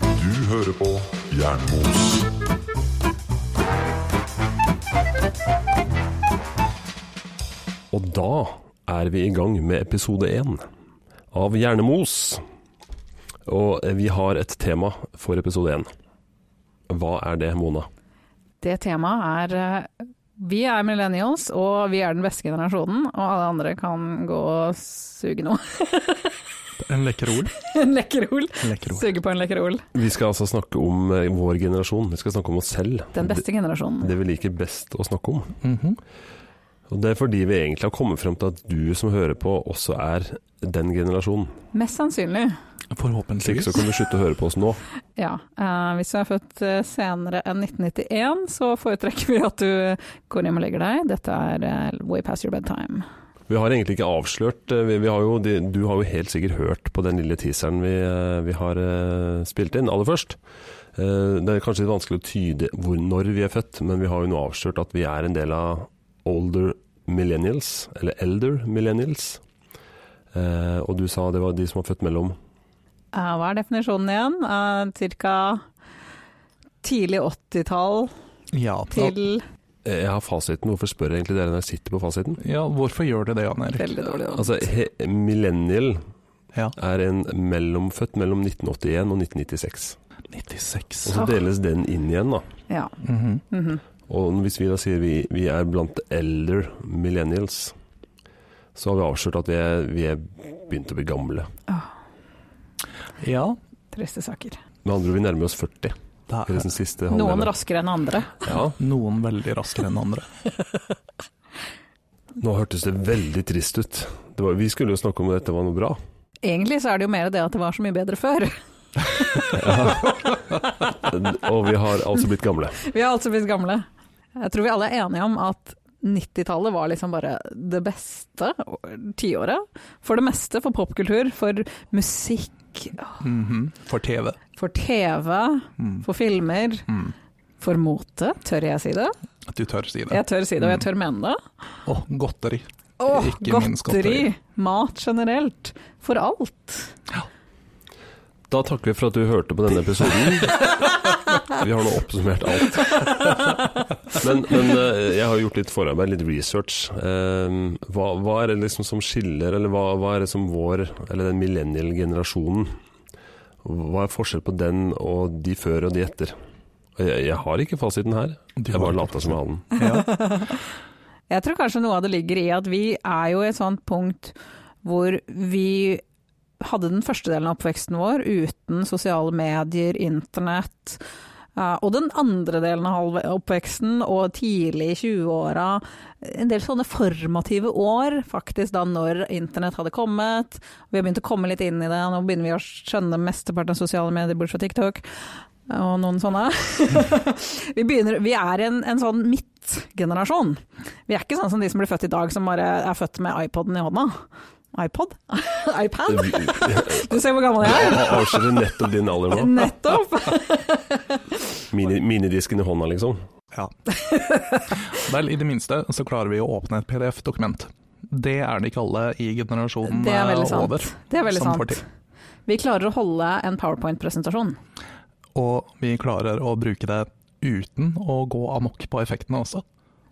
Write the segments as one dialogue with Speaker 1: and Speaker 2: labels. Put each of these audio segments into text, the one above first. Speaker 1: Du hører på Jernmos.
Speaker 2: Og da er vi i gang med episode én av Hjernemos. Og vi har et tema for episode én. Hva er det, Mona?
Speaker 3: Det temaet er eh, Vi er millennials, og vi er den beste generasjonen, og alle andre kan gå og suge noe.
Speaker 4: En lekkerol.
Speaker 3: en lekkerol.
Speaker 4: En lekkerol.
Speaker 3: Suge på en lekkerol.
Speaker 2: Vi skal altså snakke om eh, vår generasjon. Vi skal snakke om oss selv.
Speaker 3: Den beste
Speaker 2: Det,
Speaker 3: generasjonen.
Speaker 2: det vi liker best å snakke om.
Speaker 4: Mhm.
Speaker 2: Og det er fordi vi egentlig har kommet frem til at du som hører på, også er den generasjonen.
Speaker 3: Mest sannsynlig.
Speaker 2: Hvis ikke
Speaker 4: Forhåpentligvis.
Speaker 2: så kan du slutte å høre på oss nå.
Speaker 3: Ja. eh, hvis du er født eh, senere enn 1991, så foretrekker vi at du går hjem og legger deg. Dette er eh, Way Past Your Bedtime.
Speaker 2: Vi har egentlig ikke avslørt eh, vi, vi har jo, de, Du har jo helt sikkert hørt på den lille teaseren vi, eh, vi har eh, spilt inn aller først. Eh, Det er kanskje litt vanskelig å tyde hvor, når vi er født, men vi har jo nå avslørt at vi er en del av older millennials, eller elder millennials. Eh, Og du sa det var de som var født mellom
Speaker 3: Eh, hva er definisjonen igjen? Uh, cirka tidlig 80-tall
Speaker 4: Ja, da,
Speaker 3: til
Speaker 2: Eh, Jeg har fasiten, hvorfor spør jeg egentlig dere når jeg sitter på fasiten?
Speaker 4: ja, hvorfor gjør du det, Jan Erik?
Speaker 3: Veldig dårlig. da.
Speaker 2: Altså, he, millennial
Speaker 4: Ja.
Speaker 2: er en mellomfødt mellom 1981 og 1996.
Speaker 4: 96.
Speaker 2: Og så deles den inn igjen, da.
Speaker 3: Ja.
Speaker 4: Mhm.
Speaker 3: mhm.
Speaker 2: Og hvis vi da sier vi, vi er blant elder millennials, så har vi avslørt at vi er, vi er begynt å bli gamle.
Speaker 4: Ja,
Speaker 3: Triste saker.
Speaker 2: Med andre ord, vi nærmer oss 40.
Speaker 4: det
Speaker 2: Eller
Speaker 4: er
Speaker 2: den siste
Speaker 3: Noen
Speaker 2: halvdelen.
Speaker 3: raskere enn andre.
Speaker 2: Ja.
Speaker 4: noen veldig raskere enn andre.
Speaker 2: Nå hørtes det veldig trist ut. Det var, vi skulle jo snakke om at dette var noe bra.
Speaker 3: Egentlig så er det jo mer det at det var så mye bedre før.
Speaker 2: Og vi har altså blitt gamle.
Speaker 3: Vi har altså blitt gamle. Jeg tror vi alle er enige om at 90-tallet var liksom bare det beste tiåret. For det meste, for popkultur, for musikk,
Speaker 4: Mhm. For TV.
Speaker 3: for TV,
Speaker 4: Mm.
Speaker 3: for filmer,
Speaker 4: Mm.
Speaker 3: for mote. Tør jeg si det?
Speaker 4: At du tør si det.
Speaker 3: Jeg tør si det, og jeg tør mene det.
Speaker 4: Og godteri.
Speaker 3: Åh,
Speaker 4: Ikke minst
Speaker 3: godteri! Mat generelt. For alt.
Speaker 2: Da takker vi for at du hørte på denne episoden. Vi har nå oppsummert alt. Men, men eh, jeg har gjort litt forarbeid, litt research. Eh, Hva, hva er det liksom som skiller, eller hva, hva er det som vår, eller den millennial-generasjonen Hva er forskjell på den og de før og de etter? Og Jeg, jeg har ikke fasiten her,
Speaker 4: Du
Speaker 2: jeg bare
Speaker 4: har-
Speaker 2: lata som jeg hadde den.
Speaker 4: Ja.
Speaker 3: Jeg tror kanskje noe av det ligger i at vi er jo i et sånt punkt hvor vi hadde den første delen av oppveksten vår uten sosiale medier, internett. eh, Og den andre delen av halv- oppveksten og tidlig i 20-åra, en del sånne formative år, faktisk da når internett hadde kommet. Vi har begynt å komme litt inn i det, nå begynner vi å skjønne mesteparten av sosiale medier, bortsett fra TikTok og noen sånne. vi, begynner, vi er en, en sånn midtgenerasjon. Vi er ikke sånn som de som blir født i dag, som bare er født med iPoden i hånda. iPod? iPad? Du ser hvor gammel jeg er!
Speaker 2: Jeg avslører nettopp din alder nå.
Speaker 3: Nettopp!
Speaker 2: Mini, minidisken i hånda, liksom.
Speaker 4: ja. Vel, i det minste så klarer vi å åpne et PDF-dokument. Det er det ikke alle i generasjonen
Speaker 3: Det er
Speaker 4: eh,
Speaker 3: veldig sant.
Speaker 4: over.
Speaker 3: Det er veldig
Speaker 4: som får
Speaker 3: sant. Vi klarer å holde en powerpoint-presentasjon.
Speaker 4: Og vi klarer å bruke det uten å gå amok på effektene også,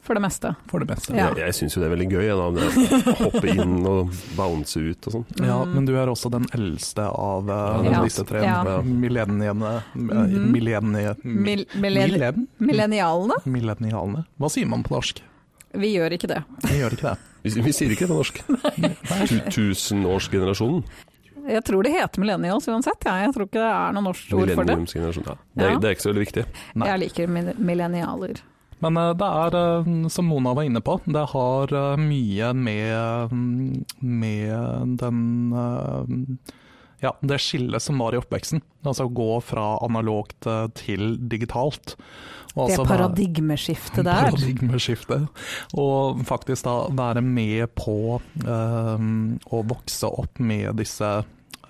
Speaker 3: For det meste.
Speaker 4: for det meste.
Speaker 3: Ja.
Speaker 2: Jeg, jeg syns jo det er veldig gøy, jeg, da. det å Hoppe inn og bounce ut og sånn.
Speaker 4: Ja, men du er også den eldste av eh,
Speaker 2: Ja.
Speaker 4: disse tre
Speaker 3: Mm. Ja.
Speaker 4: millenniene eh,
Speaker 3: Mhm.
Speaker 4: millennie,
Speaker 3: Mil millen
Speaker 4: millen,
Speaker 3: millennialene?
Speaker 4: Millennialene. Hva sier man på norsk?
Speaker 3: Vi gjør ikke det.
Speaker 4: Vi gjør ikke det.
Speaker 2: Vi, vi sier ikke det på norsk. Tu- Tusenårsgenerasjonen.
Speaker 3: Jeg tror det heter millennials uansett, jeg. Jeg tror ikke det er noe norsk ord for det.
Speaker 2: Millenniumsgenerasjonen. Ja. Det, er-
Speaker 3: Ja.
Speaker 2: det er ikke så veldig viktig.
Speaker 4: Nei.
Speaker 3: Jeg liker mil- millennialer.
Speaker 4: Men eh, det er, eh, som Mona var inne på, det har eh, mye med, mm, med den eh, Ja, det skillet som var i oppveksten. Altså å gå fra analogt eh, til digitalt. Og
Speaker 3: Det
Speaker 4: altså være-
Speaker 3: paradigmeskiftet der.
Speaker 4: Paradigmeskifte. Og faktisk da være med på eh, å vokse opp med disse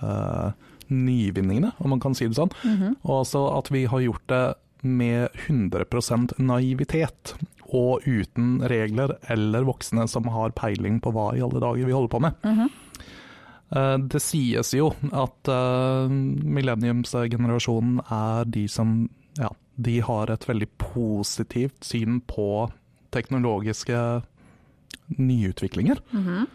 Speaker 4: eh, nyvinningene, om man kan si det sånn.
Speaker 3: Mhm.
Speaker 4: Og altså at vi har gjort det med 100 naivitet og uten regler eller voksne som har peiling på hva i alle dager vi holder på med.
Speaker 3: Mhm.
Speaker 4: Eh, Det sies jo at eh, millenniumsgenerasjonen er de som ja, de har et veldig positivt syn på teknologiske nyutviklinger,
Speaker 3: Mhm.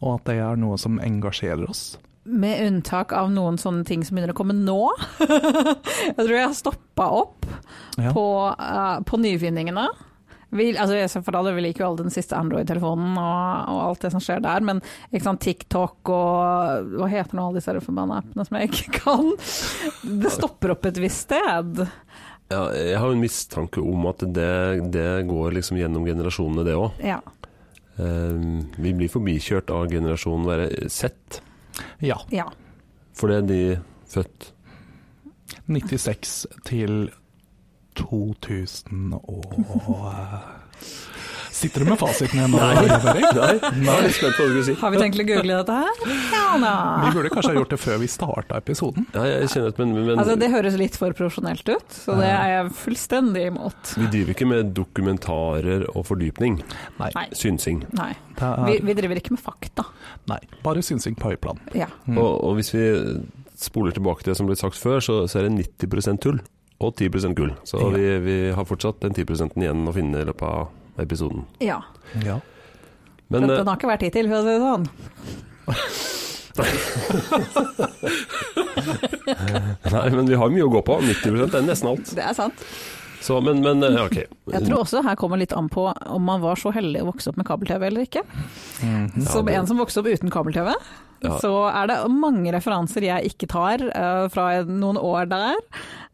Speaker 4: og at det er noe som engasjerer oss.
Speaker 3: Med unntak av noen sånne ting som begynner å komme nå. jeg tror jeg har stoppa opp
Speaker 4: Ja.
Speaker 3: på, eh, på nyvinningene. Vi, altså, jeg ser for deg, vi liker jo alle den siste Android-telefonen og, og alt det som skjer der, men ikke sant, TikTok og hva heter nå alle disse her forbanna appene som jeg ikke kan? Det stopper opp et visst sted.
Speaker 2: Ja, jeg har jo en mistanke om at det, det går liksom gjennom generasjonene, det òg.
Speaker 3: Ja.
Speaker 2: vi blir forbikjørt av generasjonen være sett,
Speaker 4: ja.
Speaker 3: ja.
Speaker 2: for det er de født
Speaker 4: 96 til 2000 og Sitter du med fasiten igjen? Nei.
Speaker 2: Nei, jeg er litt spent på hva du skulle si.
Speaker 3: Har vi tenkt å google dette her? Ja da.
Speaker 4: Vi burde kanskje ha gjort det før vi starta episoden.
Speaker 2: Ja, jeg kjenner at, men, men
Speaker 3: Altså, det høres litt for profesjonelt ut, så det er jeg fullstendig imot.
Speaker 2: vi driver ikke med dokumentarer og fordypning.
Speaker 4: Nei.
Speaker 3: Nei.
Speaker 2: Synsing.
Speaker 3: Nei.
Speaker 4: Det
Speaker 3: Vi,
Speaker 4: er,
Speaker 3: vi driver ikke med fakta.
Speaker 4: nei. Bare synsing på høyplan.
Speaker 3: Ja.
Speaker 4: Mm.
Speaker 2: Og, og hvis vi spoler tilbake til det som ble sagt før, så, så er det 90 tull og 10 gull. Så
Speaker 4: Ja.
Speaker 2: vi, vi har fortsatt den 10 igjen å finne i løpet av episoden.
Speaker 3: ja.
Speaker 4: Ja.
Speaker 3: For
Speaker 2: Men
Speaker 3: at
Speaker 2: eh,
Speaker 3: den har ikke vært hit til, for å si det sånn.
Speaker 2: eh, Nei, men vi har mye å gå på. 90 det er nesten alt.
Speaker 3: Det er sant.
Speaker 2: Så, men, men eh, ok.
Speaker 3: Jeg tror også her kommer litt an på om man var så heldig å vokse opp med kabel-TV eller ikke.
Speaker 4: Mhm.
Speaker 3: Som
Speaker 2: det-
Speaker 3: en som vokste opp uten kabel-TV,
Speaker 2: Ja.
Speaker 3: så er det mange referanser jeg ikke tar eh, fra noen år der.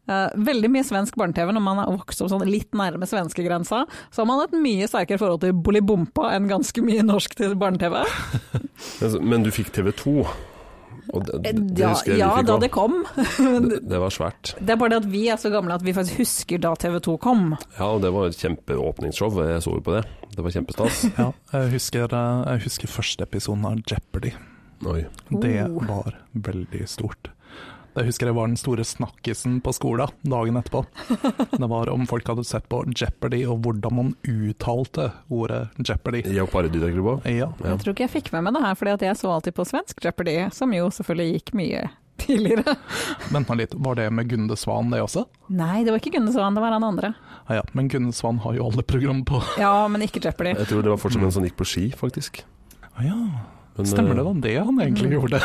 Speaker 3: Eh, veldig mye svensk barne-TV når man har vokst opp sånn litt nærme svenskegrensa. Så har man et mye sterkere forhold til Bolibompa enn ganske mye norsk til barne-TV.
Speaker 2: Altså, Men du fikk TV 2. Og det, det
Speaker 3: Eh, Ja,
Speaker 2: husker jeg
Speaker 3: ja,
Speaker 2: du
Speaker 3: da det
Speaker 2: fikk òg.
Speaker 3: kom.
Speaker 2: Det, det var svært.
Speaker 3: Det er bare det at vi er så gamle at vi faktisk husker da TV 2 kom.
Speaker 2: Ja, og det var et kjempeåpningsshow. Jeg så jo på det. Det var kjempestas.
Speaker 4: Ja, jeg, husker, eh, jeg husker første episoden av Jeopardy.
Speaker 2: Oi.
Speaker 4: Det
Speaker 3: Oh.
Speaker 4: var veldig stort. Jeg husker det var den store snakkisen på skolen dagen etterpå. Det var om folk hadde sett på Jeopardy og hvordan man uttalte ordet Jeopardy.
Speaker 2: Jeopardy der, Grubba.
Speaker 4: Ja,
Speaker 2: Ja.
Speaker 3: Jeg tror ikke jeg fikk med meg det her, fordi at jeg så alltid på svensk Jeopardy, som jo selvfølgelig gikk mye tidligere.
Speaker 4: Vent nå litt, var det med Gunde Svan det også?
Speaker 3: Nei, det var ikke Gunde Svan, det var han andre.
Speaker 4: Ja, ja, men Gunde Svan har jo alle program på.
Speaker 3: Ja, men ikke Jeopardy.
Speaker 2: Jeg tror det var fortsatt en som gikk på ski, faktisk.
Speaker 4: Ja,
Speaker 2: Men,
Speaker 4: Stemmer
Speaker 2: eh,
Speaker 4: det da, det han egentlig gjorde?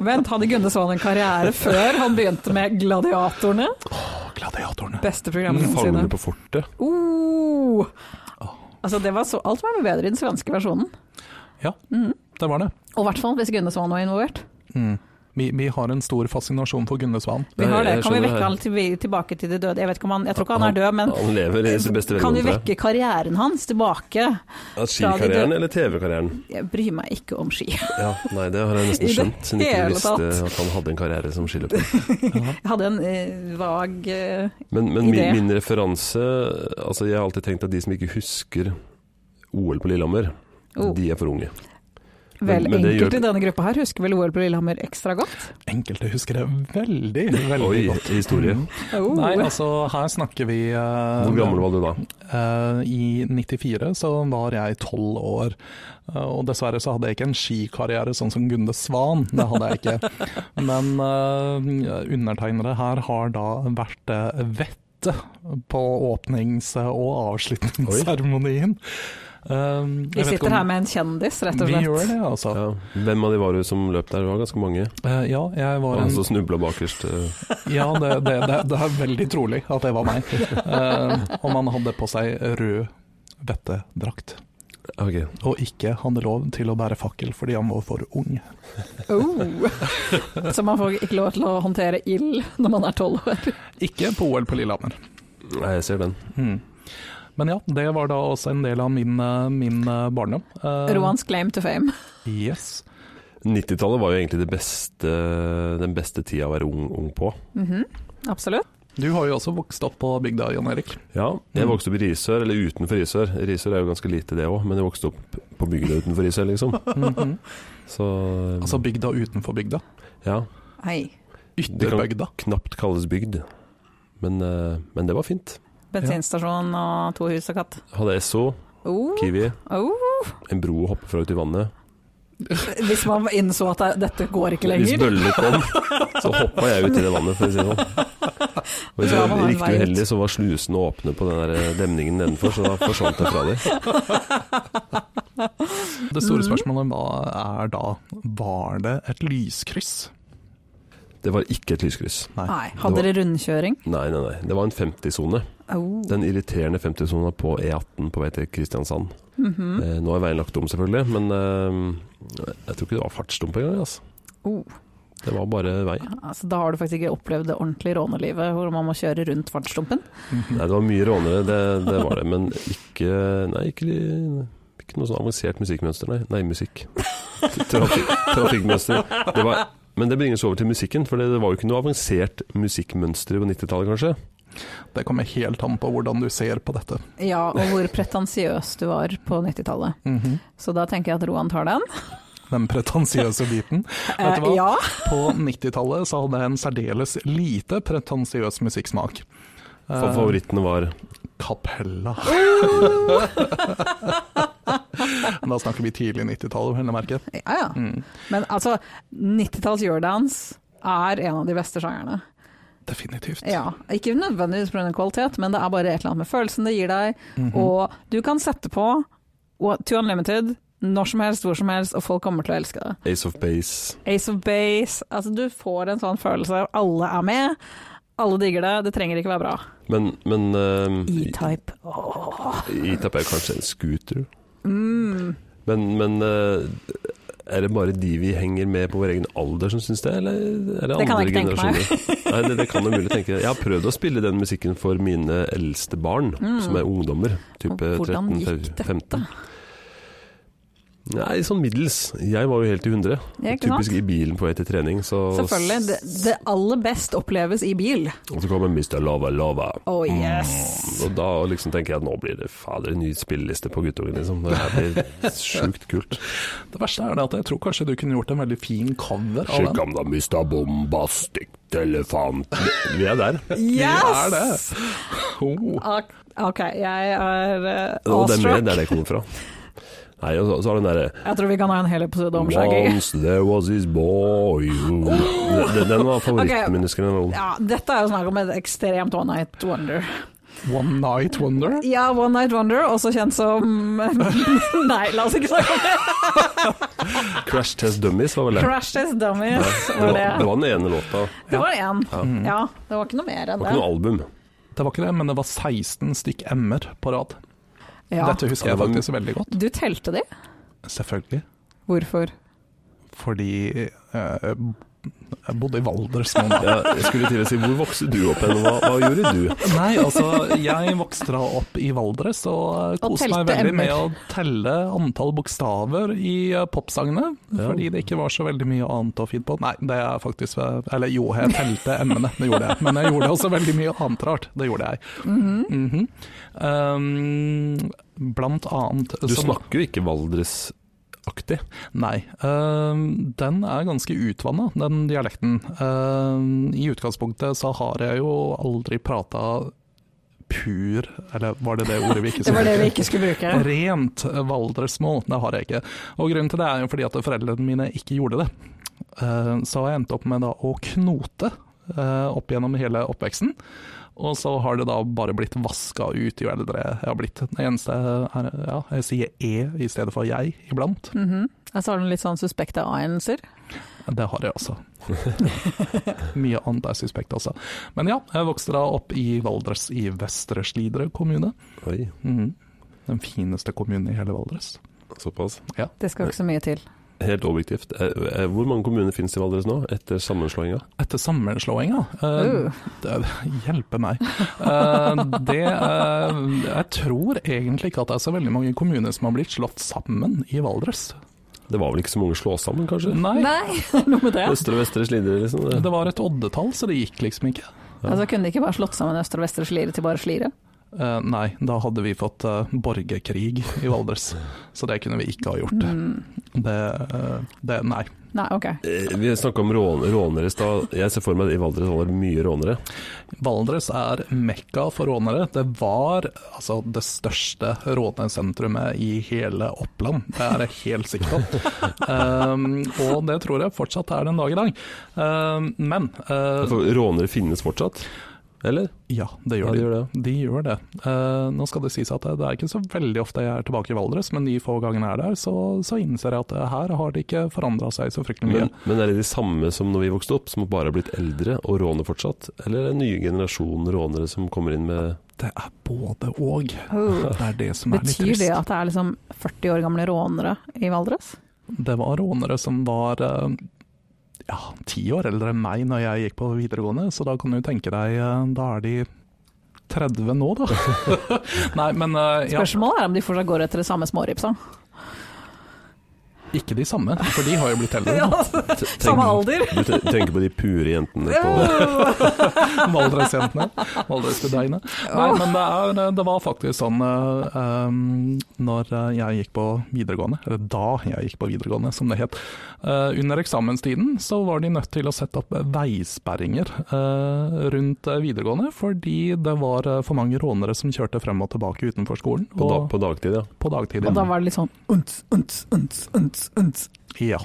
Speaker 3: Vent, hadde Gunde Svan en karriere før han begynte med Gladiatorene?
Speaker 4: Å, Gladiatorene.
Speaker 3: Beste programmet
Speaker 2: Fangene
Speaker 3: noensinne.
Speaker 2: Mm, på fortet.
Speaker 3: Oh. Altså, det var så, alt var mye bedre i den svenske versjonen.
Speaker 4: Ja, det var det.
Speaker 3: Og i hvert fall hvis Gunde Svan var involvert.
Speaker 4: Mm. Vi, vi har en stor fascinasjon for Gunde Svan.
Speaker 3: Vi
Speaker 2: Ja,
Speaker 3: har det.
Speaker 2: jeg
Speaker 3: Kan vi
Speaker 2: skjønner
Speaker 3: vekke
Speaker 2: det.
Speaker 3: han til, tilbake til de døde? Jeg, vet ikke om han, jeg tror ikke han er død, men
Speaker 2: Han lever i sin beste
Speaker 3: kan vi
Speaker 2: velgående.
Speaker 3: vekke karrieren hans tilbake?
Speaker 2: Ja, Skikarrieren
Speaker 3: dø-
Speaker 2: eller TV-karrieren?
Speaker 3: Jeg bryr meg ikke om ski.
Speaker 2: Ja, nei, det har jeg
Speaker 3: I
Speaker 2: nesten
Speaker 3: det
Speaker 2: skjønt, siden ikke
Speaker 3: hele
Speaker 2: du visste at han hadde en karriere som skiløper.
Speaker 3: Jeg hadde en eh, vag eh,
Speaker 2: Men, men
Speaker 3: I
Speaker 2: min,
Speaker 3: det.
Speaker 2: min referanse Altså, jeg har alltid tenkt at de som ikke husker OL på Lillehammer,
Speaker 3: Oh.
Speaker 2: de er for unge.
Speaker 3: Vel,
Speaker 2: Men- men det
Speaker 3: enkelte
Speaker 2: gjør-
Speaker 3: i denne gruppa her husker vel OL på Lillehammer ekstra godt?
Speaker 4: Enkelte husker det veldig, veldig
Speaker 2: Oi,
Speaker 4: godt.
Speaker 2: historie.
Speaker 3: Oh.
Speaker 4: Nei, altså her snakker vi eh,
Speaker 2: Hvor gammel var du da?
Speaker 4: Eh, I 94 så var jeg tolv år, Eh, og dessverre så hadde jeg ikke en skikarriere sånn som Gunde Svan, det hadde jeg ikke. Men eh, undertegnere her har da vært eh, vettet på åpnings- og avslutningsseremonien. Eh, jeg
Speaker 3: vi
Speaker 4: vet ikke
Speaker 3: sitter
Speaker 4: om-
Speaker 3: her med en kjendis, rett og
Speaker 4: Vi gjør
Speaker 3: slett.
Speaker 4: det, altså.
Speaker 2: Ja. Hvem av de var du som løp der? Det var ganske mange.
Speaker 4: Eh, ja, jeg var
Speaker 2: Og han
Speaker 4: en
Speaker 2: som snubla bakerst. eh,
Speaker 4: Ja, det, det, det, det er veldig trolig at det var meg. Eh, om han hadde på seg rød vettedrakt.
Speaker 2: Ok.
Speaker 4: og ikke hadde lov til å bære fakkel fordi han var for ung.
Speaker 3: Oh. Så man får ikke lov til å håndtere ild når man er tolv år.
Speaker 4: Ikke på OL på Lillehammer.
Speaker 2: Nei, jeg ser den.
Speaker 4: Mm. Men ja, det var da også en del av min, eh, min eh, barndom. Eh,
Speaker 3: Roans claim to fame.
Speaker 4: Yes.
Speaker 2: 90-tallet var jo egentlig det beste, den beste tida å være ung, ung på.
Speaker 3: Mhm, Absolutt.
Speaker 4: Du har jo også vokst opp på bygda, Jan Erik.
Speaker 2: Ja, jeg
Speaker 4: Mm.
Speaker 2: vokste opp i Risør, eller utenfor Risør. Risør er jo ganske lite det òg, men jeg vokste opp på bygda utenfor Risør, liksom.
Speaker 4: Mhm.
Speaker 2: Så
Speaker 4: Altså bygda utenfor bygda.
Speaker 2: ja,
Speaker 3: Hei.
Speaker 4: Ytterbygda.
Speaker 2: knapt kalles bygd. Men, eh, men det var fint.
Speaker 3: Bensinstasjon og to hus og katt.
Speaker 2: Hadde Esso,
Speaker 3: Oh,
Speaker 2: Kiwi,
Speaker 3: oh.
Speaker 2: en bro å hoppe fra ut i vannet.
Speaker 3: Hvis man innså at det- dette går ikke
Speaker 2: Hvis
Speaker 3: lenger.
Speaker 2: bøllene kom, så hoppa jeg ut i det vannet, for å si det sånn. Og hvis
Speaker 3: Ja,
Speaker 2: jeg
Speaker 3: man
Speaker 2: var
Speaker 3: har en
Speaker 2: riktig
Speaker 3: vei ut.
Speaker 2: uheldig, så var slusene åpne på den der demningen nedenfor, så da forsvant jeg fra dem.
Speaker 4: Det store spørsmålet hva er da Var det et lyskryss?
Speaker 2: Det var ikke et lyskryss.
Speaker 3: Nei, Hadde dere rundkjøring?
Speaker 2: Nei, nei, nei. Det var en 50-sone.
Speaker 3: Oh.
Speaker 2: Den irriterende 50-sona på E18 på vei til Kristiansand.
Speaker 3: mhm.
Speaker 2: Eh, nå er veien lagt om, selvfølgelig, men eh, jeg tror ikke det var fartsdump engang. Altså.
Speaker 3: oh.
Speaker 2: Det var bare vei.
Speaker 3: Altså, da har du faktisk ikke opplevd det ordentlige rånelivet hvor man må kjøre rundt fartsdumpen.
Speaker 2: Nei, det var mye rånere, det, det var det. Men ikke, nei, ikke, de- ikke noe sånn avansert musikkmønster, nei. Nei, musikk. Trafikk, trafikkmønster. Det var, men det bringes over til musikken, for det, det var jo ikke noe avansert musikkmønster på 90-tallet, kanskje.
Speaker 4: Det kommer helt an på hvordan du ser på dette.
Speaker 3: Ja, og hvor pretensiøs du var på 90-tallet. Så da tenker jeg at Roan tar den.
Speaker 4: Mhm. Den pretensiøse biten. Vet du hva?
Speaker 3: Eh, ja.
Speaker 4: På 90-tallet så hadde jeg en særdeles lite pretensiøs musikksmak. Ah. Eh,
Speaker 2: For favorittene var
Speaker 4: Kapella. da snakker vi tidlig 90-tallet, vil jeg merke. Mm,
Speaker 3: ja, ja. Men altså, 90-talls eurodance er en av de beste sjangerne.
Speaker 4: Definitivt.
Speaker 3: Ja, ikke nødvendigvis pga. kvalitet, men det er bare et eller annet med følelsen det gir deg.
Speaker 4: Mhm.
Speaker 3: Og du kan sette på What- To Unlimited når som helst, hvor som helst, og folk kommer til å elske det.
Speaker 2: Ace of Base.
Speaker 3: Ace of Base, altså du får en sånn følelse av alle er med, alle digger det, det trenger ikke være bra.
Speaker 2: Men, men eh,
Speaker 3: E-type. Åh.
Speaker 2: E-Tap er kanskje en scooter.
Speaker 3: Mm.
Speaker 2: Men, men eh, er det bare de vi henger med på vår egen alder som syns det, eller er det,
Speaker 3: Det kan
Speaker 2: andre
Speaker 3: jeg ikke tenke meg.
Speaker 2: generasjoner? Nei, det, det kan jeg mulig tenke. Jeg har prøvd å spille den musikken for mine eldste barn, som er ungdommer. Type
Speaker 3: Mm. Og hvordan
Speaker 2: 13,
Speaker 3: gikk dette?
Speaker 2: 15. Nei, sånn middels. Jeg var jo helt i hundre.
Speaker 3: Ja, ikke
Speaker 2: Typisk
Speaker 3: sant?
Speaker 2: i bilen på vei til trening. Så,
Speaker 3: Selvfølgelig. Det, det aller best oppleves i bil.
Speaker 2: Og så kommer Mr. Lava Lava.
Speaker 3: Oh yes.
Speaker 2: Mm. Og da liksom tenker jeg at nå blir det fader en ny spilleliste på guttungen, liksom. Det her blir sjukt kult.
Speaker 4: Det verste er det at jeg tror kanskje du kunne gjort en veldig fin cover av den.
Speaker 1: om da mista bombastikk elefant.
Speaker 2: Vi er der.
Speaker 4: er det.
Speaker 3: Yes!
Speaker 4: Oh.
Speaker 3: Ak- Ok, jeg er eh,
Speaker 2: Og det er mer
Speaker 3: awestruck.
Speaker 2: der det kommer fra. Nei, og så, så har den derre
Speaker 3: Jeg tror vi kan ha en hel episode om Shaggy.
Speaker 1: Once there was his boy who
Speaker 2: Den- den, den var favoritten
Speaker 3: Ok.
Speaker 2: min, husker jeg. da jeg var ung.
Speaker 3: Ja, dette er jo snakk om et ekstremt one night wonder.
Speaker 4: One Night Wonder.
Speaker 3: Ja, one night wonder, også kjent som Nei, la oss ikke snakke om det.
Speaker 2: Crash Test Dummies var vel det.
Speaker 3: Crash Test Dummies
Speaker 2: Det
Speaker 3: var
Speaker 2: var,
Speaker 3: det.
Speaker 2: det var den ene låta. Det
Speaker 3: Det var én.
Speaker 4: Mm.
Speaker 3: Ja, det var ikke noe mer enn
Speaker 2: var ikke
Speaker 3: det.
Speaker 2: noe album.
Speaker 4: Det var ikke det, men det var 16 stykk M-er på rad.
Speaker 3: Ja.
Speaker 4: Dette husker
Speaker 2: Ja,
Speaker 4: jeg
Speaker 2: det var-
Speaker 4: faktisk veldig godt.
Speaker 3: Du telte de?
Speaker 4: Selvfølgelig.
Speaker 3: Hvorfor?
Speaker 4: Fordi eh, jeg bodde i Valdres nå.
Speaker 2: Ja, jeg skulle til å si hvor vokste du opp hen, og hva, hva gjorde du?
Speaker 4: Nei, altså, jeg vokste da opp i Valdres og eh,
Speaker 3: Og
Speaker 4: koste meg
Speaker 3: telte
Speaker 4: veldig
Speaker 3: M-er.
Speaker 4: med å telle antall bokstaver i eh, popsangene. Fordi det ikke var så veldig mye annet å finne på. Nei, det er faktisk eh, Eller jo, jeg telte M-ene, det gjorde jeg. Men jeg gjorde også veldig mye annet rart. Det gjorde jeg. Mhm. um, blant annet
Speaker 2: Du
Speaker 4: så-
Speaker 2: snakker jo ikke Valdres-aktig.
Speaker 4: Nei. Ehm, den er ganske utvanna, den dialekten. Ehm, I utgangspunktet så har jeg jo aldri prata pur Eller var det det ordet vi ikke
Speaker 3: Det var det
Speaker 4: skulle
Speaker 3: vi
Speaker 4: bruke?
Speaker 3: ikke skulle bruke.
Speaker 4: Rent valdresmål, det har jeg ikke. Og grunnen til det er jo fordi at foreldrene mine ikke gjorde det. Ehm, Så har jeg endt opp med da å knote eh, opp gjennom hele oppveksten. Og så har det da bare blitt vaska ut jo eldre jeg har blitt. Det eneste er ja, jeg sier e i stedet for jeg iblant.
Speaker 3: Mhm. Jeg så har den litt sånn suspekte anelser.
Speaker 4: Det har jeg også. Mye annet er suspekt også. Men ja, jeg vokste da opp i Valdres i Vestre Slidre kommune.
Speaker 2: Oi,
Speaker 4: Mhm. Den fineste kommunen i hele Valdres.
Speaker 2: såpass.
Speaker 3: Det skal ikke så mye til.
Speaker 2: Helt objektivt. Eh, eh, Hvor mange kommuner finnes i Valdres nå, etter sammenslåinga?
Speaker 4: Etter sammenslåinga eh,
Speaker 3: Uh.
Speaker 4: det- Hjelpe meg. Eh, det eh, Jeg tror egentlig ikke at det er så veldig mange kommuner som har blitt slått sammen i Valdres.
Speaker 2: Det var vel ikke så mange slå sammen, kanskje?
Speaker 4: Nei.
Speaker 3: Nei, noe med det.
Speaker 2: Østre og vestre slidre, liksom.
Speaker 4: Det var et oddetall, så det gikk liksom ikke.
Speaker 3: Altså, kunne de ikke bare slått sammen Østre og Vestre Slire til bare Slire?
Speaker 4: Eh, nei, da hadde vi fått eh, borgerkrig i Valdres, så det kunne vi ikke ha gjort.
Speaker 3: Mm.
Speaker 4: Det, eh, det Nei.
Speaker 3: Nei, ok.
Speaker 2: Eh, Vi snakka om rån, rånere i stad. Jeg ser for meg at i Valdres var det mye rånere.
Speaker 4: Valdres er mekka for rånere. Det var altså, det største rånesentrumet i hele Oppland, det er jeg helt sikker på. Ehm, og det tror jeg fortsatt er den dag i dag. Ehm, men eh,
Speaker 2: For Altså, rånere finnes fortsatt, eller?
Speaker 4: ja, det
Speaker 2: Ja,
Speaker 4: gjør
Speaker 2: de
Speaker 4: de.
Speaker 2: gjør det.
Speaker 4: De gjør det. Eh, nå skal det sies at det, det er ikke så veldig ofte jeg er tilbake i Valdres, men de få gangene jeg er der, så, så innser jeg at eh, her har det ikke forandra seg så fryktelig mye.
Speaker 2: Men, men er det de samme som når vi vokste opp, som bare har blitt eldre og råner fortsatt? Eller er det en ny generasjon rånere som kommer inn med
Speaker 4: det er både og.
Speaker 3: Oh.
Speaker 4: Det er det som er litt
Speaker 3: Betyr
Speaker 4: trist.
Speaker 3: det at det er liksom 40 år gamle rånere i Valdres?
Speaker 4: Det var rånere som var eh, ja, ti år eldre enn meg når jeg gikk på videregående, så da kan du tenke deg eh, Da er de 30 nå, da. Nei, men eh, ja,
Speaker 3: Spørsmålet er om de fortsatt går etter det samme småripsa.
Speaker 4: ikke de samme, for de har jo blitt eldre.
Speaker 3: Ja,
Speaker 2: T- tenk-
Speaker 3: samme alder!
Speaker 2: Du te- tenker på de pure jentene på
Speaker 3: Oh.
Speaker 4: Valdresjentene. Valdresbudeine. Nei, men det, er, det var faktisk sånn eh, um, Når jeg gikk på videregående, eller da jeg gikk på videregående, som det het eh, Under eksamenstiden så var de nødt til å sette opp veisperringer eh, rundt videregående, fordi det var eh, for mange rånere som kjørte frem og tilbake utenfor skolen.
Speaker 2: På, da,
Speaker 4: og
Speaker 2: på dagtid, ja.
Speaker 4: på dagtid.
Speaker 3: Og da var det litt sånn unts, unts, unts, unts, unts.
Speaker 4: Ja.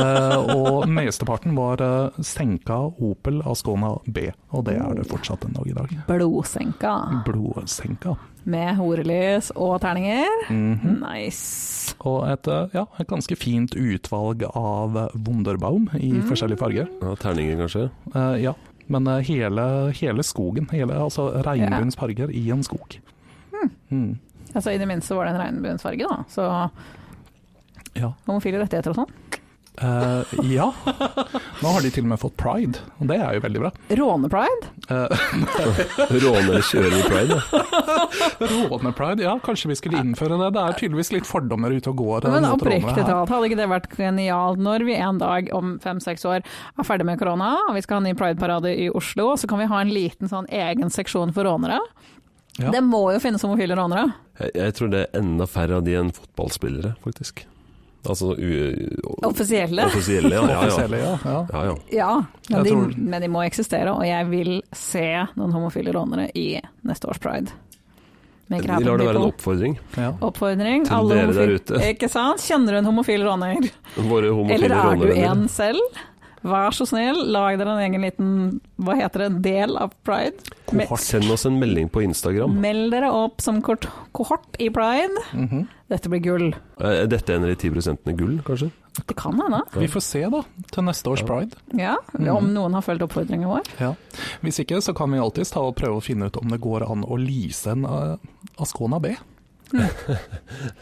Speaker 4: Eh, og mesteparten var eh, senka Opel Ascona B, og det er det fortsatt en dag i dag.
Speaker 3: Blodsenka.
Speaker 4: Blodsenka.
Speaker 3: Med horelys og terninger.
Speaker 4: Mhm.
Speaker 3: Nice.
Speaker 4: Og et, eh, ja, et ganske fint utvalg av eh, Wunderbaum i
Speaker 3: Mm.
Speaker 4: forskjellige farger.
Speaker 2: ja terninger, kanskje.
Speaker 4: Eh, ja. Men eh, hele, hele skogen, hele, altså regnbuens farger i en skog. Mm.
Speaker 3: Altså, I det minste var det en regnbuens farge, da. Så
Speaker 4: Ja.
Speaker 3: homofile rettigheter og sånn.
Speaker 4: Eh, ja. Nå har de til og med fått pride, og det er jo veldig bra.
Speaker 3: Rånepride.
Speaker 4: Uh,
Speaker 2: Rånere kjører i pride, ja.
Speaker 4: Rånepride, ja, kanskje vi skulle innføre det. Det er tydeligvis litt fordommer ute og går. eh,
Speaker 3: Men
Speaker 4: mot rånere
Speaker 3: oppriktig
Speaker 4: her.
Speaker 3: talt, hadde ikke det vært genialt når vi en dag om fem-seks år er ferdig med korona, og vi skal ha en ny prideparade i Oslo, så kan vi ha en liten sånn egen seksjon for rånere?
Speaker 4: Ja.
Speaker 3: Det må jo finnes homofile rånere.
Speaker 2: Jeg, jeg tror det er enda færre av de enn fotballspillere, faktisk. Altså u, u,
Speaker 3: Offisielle.
Speaker 2: offisielle, ja. Ja, ja.
Speaker 4: Offisielle, ja. ja.
Speaker 2: ja, ja.
Speaker 3: Ja, men
Speaker 4: Jeg
Speaker 3: de,
Speaker 4: tror-
Speaker 3: men de må eksistere, og jeg vil se noen homofile rånere i neste års pride. Med
Speaker 2: Vi
Speaker 3: Graben
Speaker 2: lar det være en
Speaker 3: People.
Speaker 2: oppfordring
Speaker 4: ja.
Speaker 3: Oppfordring.
Speaker 2: til
Speaker 3: alle
Speaker 2: dere der
Speaker 3: homofile-
Speaker 2: ute.
Speaker 3: Ikke sant? Kjenner du en homofil råner?
Speaker 2: Våre
Speaker 3: Eller
Speaker 2: homofile
Speaker 3: er du
Speaker 2: rånevenner.
Speaker 3: en selv? Vær så snill, lag dere en egen liten hva heter det, del av pride. Med,
Speaker 2: Send oss en melding på Instagram.
Speaker 3: meld dere opp som kort, kohort i pride.
Speaker 4: Mhm.
Speaker 3: Dette blir gull.
Speaker 2: Eh, Er dette en av de 10 gull, kanskje?
Speaker 3: Det kan hende.
Speaker 4: Vi får se, da, til neste års
Speaker 2: Ja.
Speaker 4: pride.
Speaker 3: Ja,
Speaker 2: Mm.
Speaker 3: om noen har fulgt oppfordringen vår.
Speaker 4: Ja. Hvis ikke, så kan vi alltids ta og prøve å finne ut om det går an å lease en eh, Ascona B.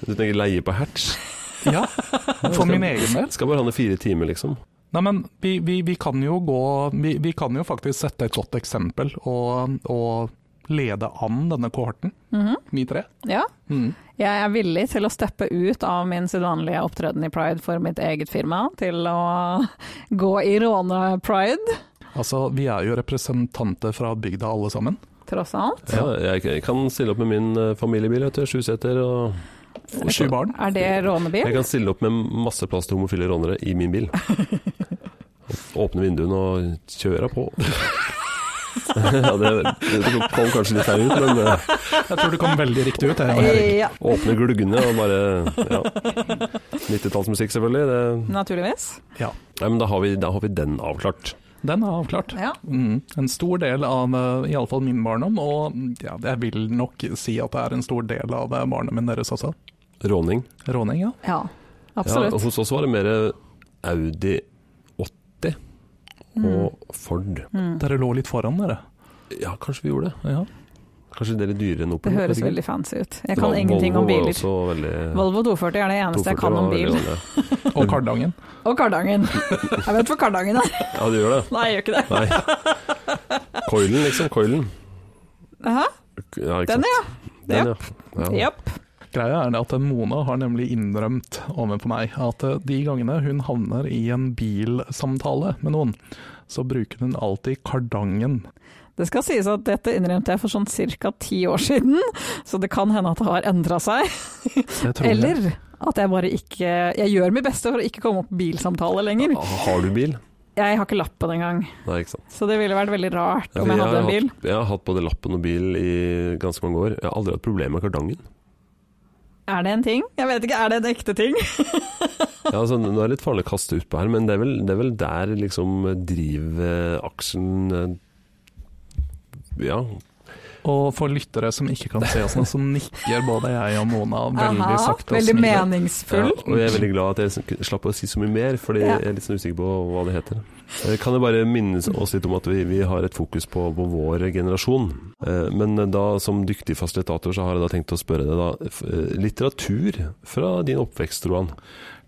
Speaker 2: Du tenker leie på hatch?
Speaker 4: Ja, for min egen del.
Speaker 2: Skal bare handle fire timer, liksom.
Speaker 4: Nei, men vi, vi, vi kan jo gå vi, vi kan jo faktisk sette et godt eksempel og, og lede an denne kohorten,
Speaker 3: Mhm.
Speaker 4: vi tre.
Speaker 3: Ja.
Speaker 4: Mm.
Speaker 3: Jeg er villig til å steppe ut av min sedvanlige opptreden i pride for mitt eget firma, til å gå i råne-pride,
Speaker 4: Altså, vi er jo representanter fra bygda alle sammen.
Speaker 3: tross alt.
Speaker 2: Ja, jeg, jeg kan stille opp med min eh, familiebil, vet du. Sju seter og
Speaker 4: Sju barn.
Speaker 3: Er det rånebil?
Speaker 2: Jeg kan stille opp med masse plass til homofile rånere i min bil. Åpne vinduene og kjøre på. ja, det, det kom kanskje litt feil ut, men eh,
Speaker 4: Jeg tror det kom veldig riktig ut. Jeg.
Speaker 3: Ja,
Speaker 2: åpne gluggene og bare ja. 90-tallsmusikk, selvfølgelig. Det,
Speaker 3: naturligvis.
Speaker 4: Ja,
Speaker 2: nei, men da har, vi, da har vi den avklart.
Speaker 4: den er avklart.
Speaker 3: Ja.
Speaker 4: Mm, en stor del av eh, i alle fall min barndom, og ja, jeg vil nok si at det er en stor del av eh, barndommen deres også.
Speaker 2: Råning.
Speaker 4: Råning, ja.
Speaker 3: Ja,
Speaker 2: Ja,
Speaker 3: absolutt.
Speaker 2: hos oss var det mer Audi 80 og Ford.
Speaker 3: Mm.
Speaker 4: Dere lå litt foran dere.
Speaker 2: Ja, kanskje vi gjorde det.
Speaker 4: Ja.
Speaker 2: Kanskje det er litt dyrere enn
Speaker 3: Det
Speaker 2: Opel.
Speaker 3: høres
Speaker 2: vet ikke.
Speaker 3: veldig fancy ut. Jeg
Speaker 2: Det
Speaker 3: kan
Speaker 2: var-
Speaker 3: ingenting om biler.
Speaker 2: Volvo var også veldig...
Speaker 3: Volvo 240 er det eneste jeg
Speaker 2: 240
Speaker 3: kan om
Speaker 2: var veldig
Speaker 3: bil.
Speaker 2: vanlig.
Speaker 4: Og Kardangen.
Speaker 3: Og Kardangen. Jeg vet hvor Kardangen er.
Speaker 2: Ja, du gjør det.
Speaker 3: Nei, jeg gjør ikke det.
Speaker 2: Nei. Coilen, liksom. Coilen.
Speaker 3: Hæ?
Speaker 2: Ja, ikke
Speaker 3: Den,
Speaker 2: sant?
Speaker 3: ja.
Speaker 2: Den, ja. ja.
Speaker 3: Jepp.
Speaker 4: Greia er det at eh, Mona har nemlig innrømt overfor meg at eh, de gangene hun havner i en bilsamtale med noen, så bruker hun alltid Kardangen.
Speaker 3: Det skal sies at dette innrømte jeg for sånn ca. ti år siden, så det kan hende at det har endra seg.
Speaker 4: Det tror jeg.
Speaker 3: Eller at jeg bare ikke Jeg gjør mitt beste for å ikke komme opp på bilsamtale lenger.
Speaker 2: Ah, Har du bil?
Speaker 3: Jeg har ikke lappen engang,
Speaker 2: Nei, ikke sant.
Speaker 3: så det ville vært veldig rart
Speaker 2: Ja,
Speaker 3: om
Speaker 2: for
Speaker 3: jeg
Speaker 2: har
Speaker 3: hadde en bil.
Speaker 2: Hatt, jeg har hatt både lappen og bil i ganske mange år. Jeg har aldri hatt problemer med kardangen.
Speaker 3: Er det en ting? Jeg vet ikke, er det en ekte ting?
Speaker 2: Ja, altså, nå er det litt farlig å kaste utpå her, men det er vel, det er vel der liksom drivaksen eh, Ja,
Speaker 4: Og for lyttere som ikke kan se oss nå, så nikker både jeg og Mona veldig
Speaker 3: Aha,
Speaker 4: sakte. og
Speaker 3: veldig
Speaker 4: smiler.
Speaker 2: ja,
Speaker 3: meningsfull.
Speaker 2: og jeg er veldig glad at jeg s- slapp å si så mye mer, fordi
Speaker 3: Ja.
Speaker 2: jeg er litt sånn usikker på hva det heter. Eh, Kan jeg bare minne oss litt om at vi, vi har et fokus på, på vår generasjon. Eh, Men da som dyktig fasilitator så har jeg da tenkt å spørre deg da, f- eh, litteratur fra din oppvekst, Roan.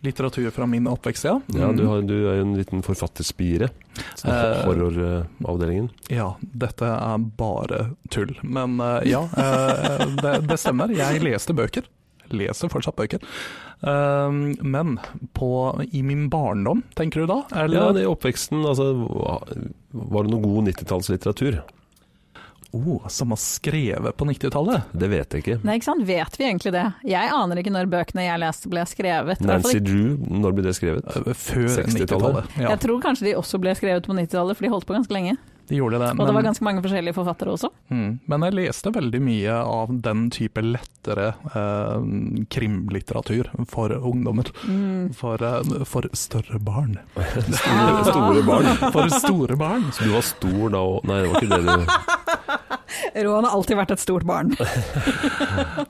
Speaker 4: Litteratur fra min oppvekst, ja.
Speaker 2: Ja, du, har, du er jo en liten forfatterspire. Sånn
Speaker 4: Mm. Eh,
Speaker 2: Horroravdelingen.
Speaker 4: Ja, dette er bare tull. Men eh, ja, eh, det, det stemmer. Jeg leste bøker. Leser fortsatt bøker. Um, men på, i min barndom, tenker du da?
Speaker 2: Ja,
Speaker 4: Eller?
Speaker 2: det i oppveksten, altså hva- Var det noe god 90-tallslitteratur?
Speaker 4: oh, som har skrevet på 90-tallet?
Speaker 2: Det vet jeg ikke.
Speaker 3: Nei, ikke sant. Vet vi egentlig det? Jeg aner ikke når bøkene jeg leste ble skrevet. I hvert fall
Speaker 2: Nancy
Speaker 3: ikke-
Speaker 2: Drew, når ble det skrevet?
Speaker 4: Eh, Før
Speaker 2: 60-tallet.
Speaker 4: 90-tallet. Ja,
Speaker 3: Jeg tror kanskje de også ble skrevet på 90-tallet, for de holdt på ganske lenge.
Speaker 4: de gjorde det.
Speaker 3: Og det var
Speaker 4: Men,
Speaker 3: ganske mange forskjellige forfattere også.
Speaker 4: mm, men jeg leste veldig mye av den type lettere eh, krimlitteratur for ungdommer.
Speaker 3: Mm.
Speaker 4: For, eh, for større barn.
Speaker 2: Store, store barn.
Speaker 4: For store barn!
Speaker 2: Så du var stor da og Nei, det var ikke det du
Speaker 3: Roan har alltid vært et stort barn.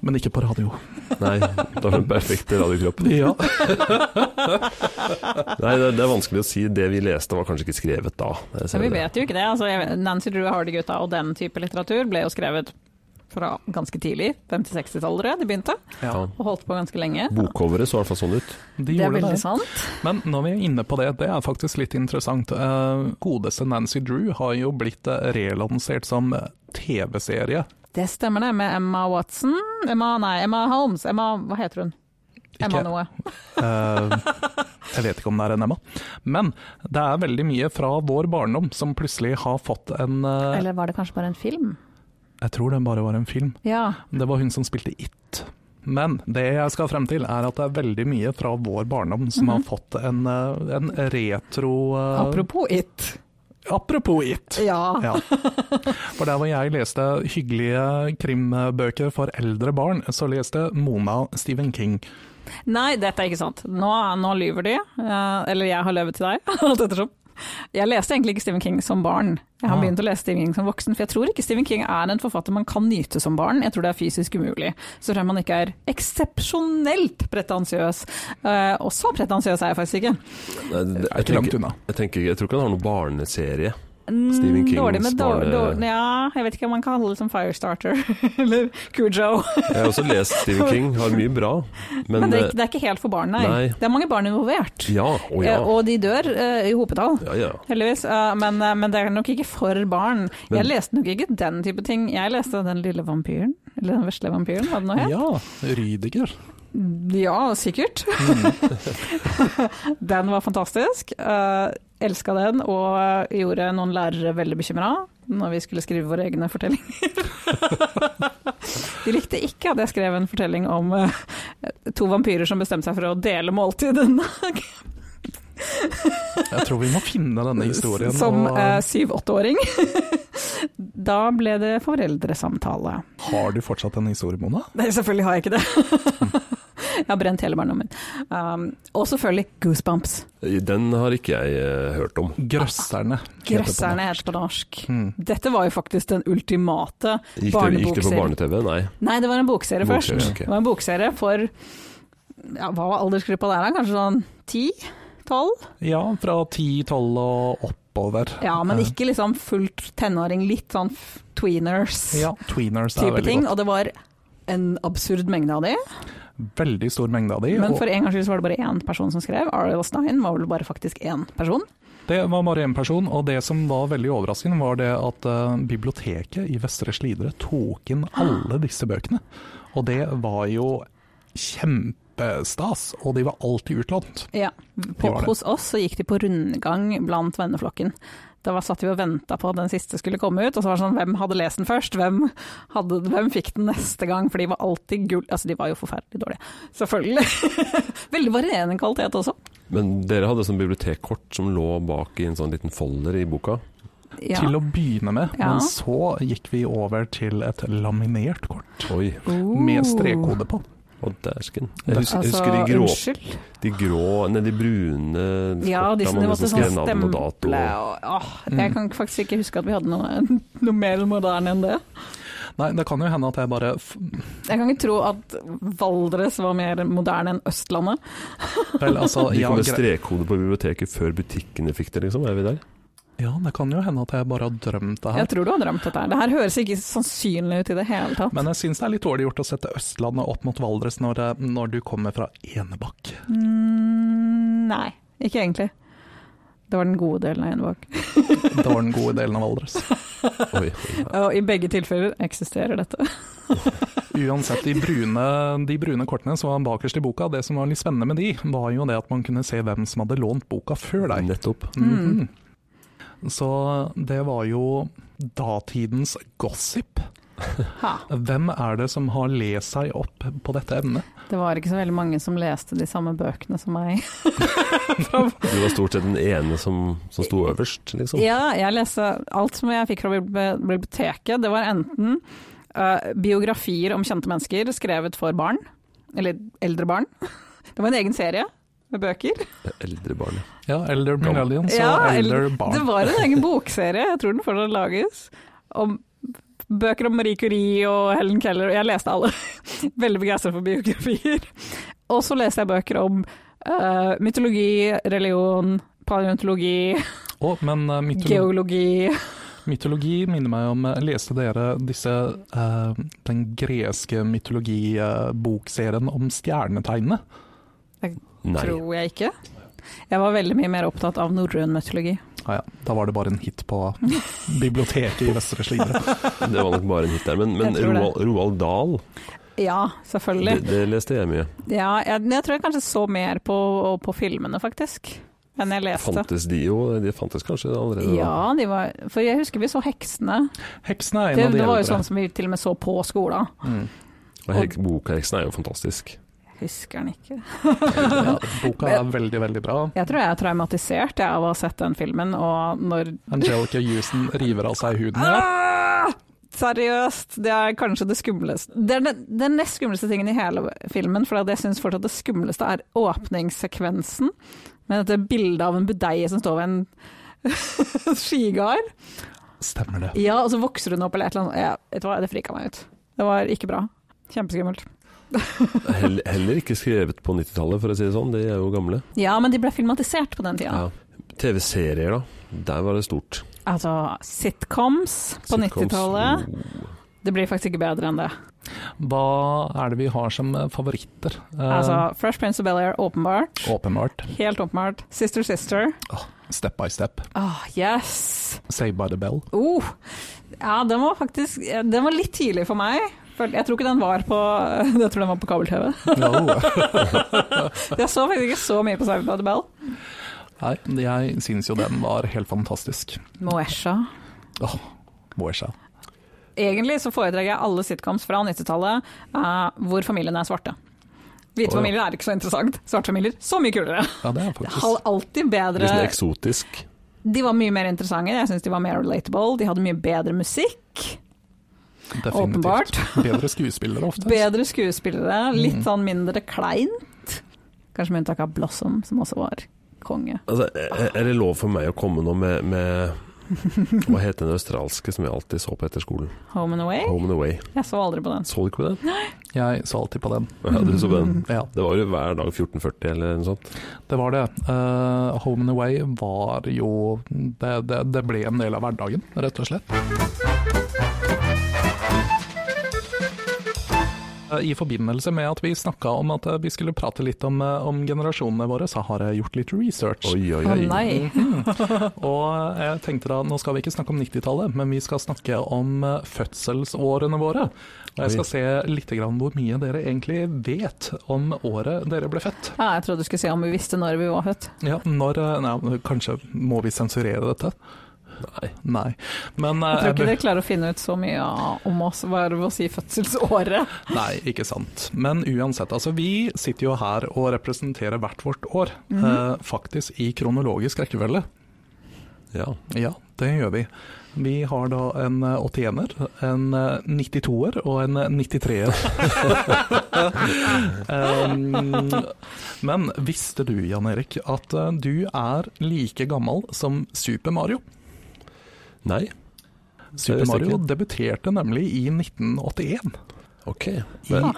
Speaker 4: Men ikke på radio.
Speaker 2: Nei, da var den perfekte radiokroppen.
Speaker 4: Ja.
Speaker 2: Nei, det, det er vanskelig å si. Det vi leste var kanskje ikke skrevet da. Jeg ser
Speaker 3: Men vi
Speaker 2: det.
Speaker 3: vet jo ikke det. Altså, jeg- Nancy Drew, Hardy-gutta og den type litteratur ble jo skrevet fra ganske tidlig. 50-60-tallet, tror jeg de begynte.
Speaker 2: Ja.
Speaker 3: Og holdt på ganske lenge.
Speaker 2: Bokcoveret så i hvert fall sånn ut.
Speaker 4: De
Speaker 3: Det er
Speaker 4: gjorde det.
Speaker 3: veldig sant.
Speaker 4: Men når vi er inne på det, det er faktisk litt interessant. Eh, Godeste Nancy Drew har jo blitt eh, relansert som eh, TV-serie.
Speaker 3: Det stemmer det, med Emma Watson Emma, nei, Emma Holmes. Emma, hva heter hun? Emma
Speaker 4: Ikke-
Speaker 3: noe.
Speaker 4: Eh, jeg vet ikke om det er en Emma. Men det er veldig mye fra vår barndom som plutselig har fått en eh,
Speaker 3: Eller var det kanskje bare en film?
Speaker 4: Jeg tror den bare var en film.
Speaker 3: Ja.
Speaker 4: Det var hun som spilte It. Men det jeg skal frem til, er at det er veldig mye fra vår barndom som har fått en, eh, en retro eh,
Speaker 3: Mhm. Apropos It.
Speaker 4: apropos It.
Speaker 3: Ja.
Speaker 4: Ja. For der hvor jeg leste hyggelige krimbøker for eldre barn, så leste Mona Stephen King.
Speaker 3: Nei, dette er ikke sant. Nå, nå lyver de. Eh, eller jeg har løyet til deg, alt ettersom. Jeg leste egentlig ikke Stephen King som barn. Jeg har
Speaker 4: Ah.
Speaker 3: begynt å lese Stephen King som voksen, for jeg tror ikke Stephen King er en forfatter man kan nyte som barn. Jeg tror det er fysisk umulig. Så tror jeg man ikke er eksepsjonelt pretensiøs. Eh, og så pretensiøs er jeg faktisk ikke.
Speaker 2: Nei, det- jeg,
Speaker 4: Ikke langt
Speaker 2: tenker,
Speaker 4: unna.
Speaker 2: jeg, tenker, jeg tror ikke han har noen barneserie. Stephen Kings
Speaker 3: dårlig med
Speaker 2: barne-
Speaker 3: dår, dår, Ja, jeg vet ikke om man kan kalle det som Firestarter eller Cujo.
Speaker 2: Jeg har også lest Stephen King, har mye bra. Men, eh,
Speaker 3: Men, det, er ikke, det er ikke helt for barn, nei.
Speaker 2: Nei.
Speaker 3: Det er mange barn involvert.
Speaker 2: eh, Ja, å ja.
Speaker 3: Eh, og de dør eh, i hopetall.
Speaker 2: ja, ja.
Speaker 3: Heldigvis, eh, men, eh, men det er nok ikke for barn.
Speaker 2: Men-
Speaker 3: jeg leste nok ikke den type ting. Jeg leste Den lille vampyren, eller Den vesle vampyren, hva det nå het.
Speaker 4: Ja, Rydiger.
Speaker 3: Ja, sikkert.
Speaker 2: Mm.
Speaker 3: den var fantastisk. Uh, Elska den, og eh, gjorde noen lærere veldig bekymra når vi skulle skrive våre egne fortellinger. De likte ikke at jeg skrev en fortelling om eh, to vampyrer som bestemte seg for å dele måltid en dag,
Speaker 4: Jeg tror vi må finne denne historien.
Speaker 3: som
Speaker 4: og,
Speaker 3: eh, syv-åtteåring. da ble det foreldresamtale.
Speaker 4: har du fortsatt en historie, Mona?
Speaker 3: Nei, selvfølgelig har jeg ikke det. jeg har brent hele barndommen. Um, og selvfølgelig Goosebumps.
Speaker 2: Den har ikke jeg eh, hørt om.
Speaker 4: Grøsserne. heter
Speaker 3: Grøsserne heter på norsk.
Speaker 4: Mm.
Speaker 3: Dette var jo faktisk den ultimate
Speaker 2: Hmm. Gikk det, gikk det på
Speaker 3: barnebokserien.
Speaker 2: barne-TV? Nei.
Speaker 3: Nei, det var en bokserie først.
Speaker 2: Bokserie, ok.
Speaker 3: Det var en bokserie for ja, Hva var aldersgruppa der, da? Kanskje sånn ti? Tolv?
Speaker 4: det. Ja, fra 10-12 og oppover. Eh,
Speaker 3: Ja, men ikke liksom fullt tenåring. Litt sånn f- tweeners-type
Speaker 4: Ja, tweeners er veldig
Speaker 3: ting. Og det var en absurd mengde av de.
Speaker 4: godt. Veldig stor mengde av de.
Speaker 3: Men
Speaker 4: og
Speaker 3: for en gangs skyld så var det bare én person som skrev. Ariel Stein var vel bare faktisk én person.
Speaker 4: Det var bare én person, og det som var veldig overraskende, var det at eh, biblioteket i Vestre Slidre tok inn alle disse bøkene. Og det var jo kjempestas, og de var alltid utlånt.
Speaker 3: Ja,
Speaker 4: var
Speaker 3: på,
Speaker 4: det.
Speaker 3: hos oss så gikk de på rundgang blant venneflokken. Da var, satt vi og venta på at den siste skulle komme ut, og så var det sånn hvem hadde lest den først, hvem, hadde, hvem fikk den neste gang, for de var alltid gull Altså, de var jo forferdelig dårlige, selvfølgelig. Veldig varierende kvalitet også.
Speaker 2: Men dere hadde sånn bibliotekkort som lå bak i en sånn liten folder i boka.
Speaker 3: Ja.
Speaker 4: Til å begynne med,
Speaker 3: Ja.
Speaker 4: men så gikk vi over til et laminert kort
Speaker 2: Oi,
Speaker 4: med
Speaker 3: Oh.
Speaker 4: strekkode på.
Speaker 2: og dæsken. Jeg husker, jeg
Speaker 3: Altså,
Speaker 2: husker de grå,
Speaker 3: Unnskyld.
Speaker 2: de grå nei, de brune
Speaker 3: Ja, de
Speaker 2: kortene
Speaker 3: som de
Speaker 2: med
Speaker 3: måtte
Speaker 2: skrev
Speaker 3: sånn
Speaker 2: navn og dato.
Speaker 3: stemple og åh, Jeg
Speaker 4: Mm.
Speaker 3: kan faktisk ikke huske at vi hadde noe, noe mer moderne enn det.
Speaker 4: Nei, det kan jo hende at jeg bare f-
Speaker 3: Jeg kan ikke tro at Valdres var mer moderne enn Østlandet.
Speaker 4: Vel, altså
Speaker 2: De
Speaker 4: ja,
Speaker 2: kom med
Speaker 4: gre-
Speaker 2: strekkode på biblioteket før butikkene fikk det, liksom. Er vi der?
Speaker 4: ja, det kan jo hende at jeg bare har drømt det
Speaker 3: Jeg
Speaker 4: her.
Speaker 3: tror du har drømt dette her. Det her høres ikke sannsynlig ut i det hele tatt.
Speaker 4: Men jeg syns det er litt dårlig gjort å sette Østlandet opp mot Valdres når, det- når du kommer fra Enebakk.
Speaker 3: Mm, nei, ikke egentlig. Det var den gode delen av Enebakk.
Speaker 4: Det var den gode delen av Valdres.
Speaker 2: Oi.
Speaker 3: Og i begge tilfeller eksisterer dette.
Speaker 4: Uansett, de brune, de brune kortene som var bakerst i boka, det som var litt spennende med de, var jo det at man kunne se hvem som hadde lånt boka før deg.
Speaker 2: Nettopp.
Speaker 3: Mm.
Speaker 4: Mhm. Så det var jo datidens gossip.
Speaker 3: Ha.
Speaker 4: Hvem er det som har lest seg opp på dette emnet?
Speaker 3: Det var ikke så veldig mange som leste de samme bøkene som meg.
Speaker 2: Du var stort sett den ene som, som sto øverst, liksom.
Speaker 3: Ja, jeg leste alt som jeg fikk fra bibli- biblioteket. Det var enten eh, biografier om kjente mennesker skrevet for barn, eller eldre barn. Det var en egen serie med bøker.
Speaker 2: Eldre barn.
Speaker 4: Ja, Elder Millennials
Speaker 3: Ja,
Speaker 4: og Elder
Speaker 3: eller- Det
Speaker 4: Barn.
Speaker 3: var en egen bokserie, jeg tror den fortsatt lages. Om bøker om Marie Curie og Helen Keller, og jeg leste alle. Veldig begeistra for biografier. Og så leste jeg bøker om eh, mytologi, religion, paleontologi,
Speaker 4: Å, men eh, mytolo
Speaker 3: geologi.
Speaker 4: mytologi minner meg om eh, Leste dere disse eh, den greske mytologibokserien om stjernetegnene?
Speaker 2: Nei.
Speaker 3: Tror jeg ikke. Jeg var veldig mye mer opptatt av norrøn mytologi.
Speaker 4: Ja, ja, da var det bare en hit på biblioteket i Vestre Slidre.
Speaker 2: Det var nok bare en hit der. Men, men
Speaker 3: Jeg tror det.
Speaker 2: Roald, Roald Dahl,
Speaker 3: Ja,
Speaker 2: det,
Speaker 3: selvfølgelig.
Speaker 2: det leste jeg mye.
Speaker 3: Ja, jeg, men jeg tror jeg kanskje så mer på, på filmene, faktisk, enn jeg leste.
Speaker 2: Fantes de jo? De fantes kanskje allerede da?
Speaker 3: Ja, de var, for jeg husker vi så Heksene.
Speaker 4: Heksene er en
Speaker 3: Det,
Speaker 4: av de
Speaker 3: det var jo
Speaker 4: eldre.
Speaker 3: sånn som vi til og med så på skolen.
Speaker 4: Mm.
Speaker 2: Og Hek- Bokheksen er jo fantastisk.
Speaker 3: Husker den ikke.
Speaker 4: Ja, boka er veldig, veldig bra.
Speaker 3: Jeg tror jeg er traumatisert jeg, av å ha sett den filmen, og når
Speaker 4: Angelica Houston river av seg huden. Ja.
Speaker 3: Ah! Seriøst, det er kanskje det skumleste. Det er den, den nest skumleste tingen i hele filmen, for jeg syns fortsatt det skumleste er åpningssekvensen med dette bildet av en budeie som står ved en skigard.
Speaker 4: Stemmer det.
Speaker 3: Ja, og så vokser hun opp eller et eller annet. Ja, vet du hva, det frika meg ut. Det var ikke bra. Kjempeskummelt.
Speaker 2: Heller, heller ikke skrevet på 90-tallet, for å si det sånn. De er jo gamle.
Speaker 3: Ja, men de ble filmatisert på den tida.
Speaker 2: Ja. TV-serier, da. Der var det stort.
Speaker 3: Altså sitcoms på
Speaker 2: Sitcoms.
Speaker 3: 90-tallet.
Speaker 2: Oh.
Speaker 3: Det blir faktisk ikke bedre enn det.
Speaker 4: Hva er det vi har som eh, favoritter? Eh,
Speaker 3: Altså Fresh Prince of Bel-Air, åpenbart.
Speaker 4: åpenbart.
Speaker 3: Helt åpenbart. Sister Sister.
Speaker 4: Step by step.
Speaker 3: Ah, yes!
Speaker 4: Save by the bell.
Speaker 3: Oh. Ja, den var faktisk eh, Den var litt tidlig for meg. For Jeg tror ikke den var på Jeg tror den var på kabel-TV. Jeg så faktisk ikke så mye på Cyber by the Bell.
Speaker 4: Nei, jeg syns jo den var helt fantastisk.
Speaker 3: Moesha.
Speaker 4: Moesha.
Speaker 3: Egentlig så foretrekker jeg alle sitcoms fra 90-tallet eh, hvor familiene er svarte.
Speaker 2: Å,
Speaker 3: Hvite
Speaker 2: ja.
Speaker 3: familier er ikke så interessant. Svarte familier, så mye kulere.
Speaker 4: Ja, det er
Speaker 3: Det
Speaker 4: faktisk
Speaker 3: er alltid
Speaker 2: Litt
Speaker 3: bedre
Speaker 2: sånn eksotisk.
Speaker 3: De var mye mer interessante. Jeg syns de var mer relatable. De hadde mye bedre musikk.
Speaker 4: definitivt
Speaker 3: åpenbart.
Speaker 4: Bedre skuespillere ofte.
Speaker 3: Bedre skuespillere, litt
Speaker 4: Mm.
Speaker 3: sånn mindre kleint. Kanskje med unntak av Blossom, som også var konge.
Speaker 2: Altså, er- er det lov for meg å komme nå med, med Hva heter den australske som vi alltid så på etter skolen?
Speaker 3: Home and Away.
Speaker 2: Home and Away.
Speaker 3: Jeg så aldri på den.
Speaker 2: Så du ikke på den?
Speaker 4: Jeg så alltid på den.
Speaker 2: Ja, du så på den.
Speaker 4: Ja,
Speaker 2: Det var jo hver dag 14.40 eller noe sånt.
Speaker 4: det var det. Eh, Home and Away var jo det, det, det ble en del av hverdagen, rett og slett. Eh, I forbindelse med at vi snakka om at eh, vi skulle prate litt om, eh, om generasjonene våre, så har jeg gjort litt research. Mhm.
Speaker 2: Oi, oi,
Speaker 3: Å
Speaker 2: oi.
Speaker 3: nei.
Speaker 4: Og eh, jeg tenkte da, nå skal vi ikke snakke om 90-tallet, men vi skal snakke om eh, fødselsårene våre. Og jeg
Speaker 2: Oi.
Speaker 4: skal se litt grann hvor mye dere egentlig vet om året dere ble født.
Speaker 3: Ja, jeg trodde du skulle si om vi visste når vi var født.
Speaker 4: Ja, når, eh, nei, kanskje må vi sensurere dette?
Speaker 2: Nei.
Speaker 4: Nei. Men
Speaker 3: Jeg
Speaker 4: eh,
Speaker 3: tror ikke
Speaker 4: be-
Speaker 3: dere klarer å finne ut så mye av- om oss bare ved å si fødselsåret.
Speaker 4: Nei, ikke sant. Men uansett, altså vi sitter jo her og representerer hvert vårt år.
Speaker 3: Mhm.
Speaker 4: eh, faktisk i kronologisk rekkefølge.
Speaker 2: Ja.
Speaker 4: Ja, det gjør vi. Vi har da en eh, 81-er, en eh, 92-er og en eh, 93-er. um, men visste du, Jan Erik, at eh, du er like gammel som Super Mario?
Speaker 2: Nei?
Speaker 4: Super
Speaker 2: visste
Speaker 4: Mario
Speaker 2: ikke.
Speaker 4: debuterte nemlig i 1981
Speaker 2: Ok.
Speaker 4: i
Speaker 2: Men,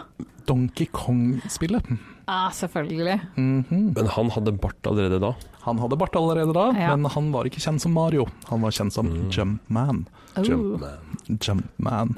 Speaker 4: Donkey Kong-spillet.
Speaker 3: Ja, selvfølgelig.
Speaker 4: Mhm.
Speaker 2: men han hadde bart allerede da.
Speaker 4: Han hadde bart allerede da,
Speaker 3: Ja.
Speaker 4: men han var ikke kjent som Mario. Han var kjent som
Speaker 2: Mm.
Speaker 4: Jumpman.
Speaker 3: Oh.
Speaker 2: Jumpman.
Speaker 4: Jumpman.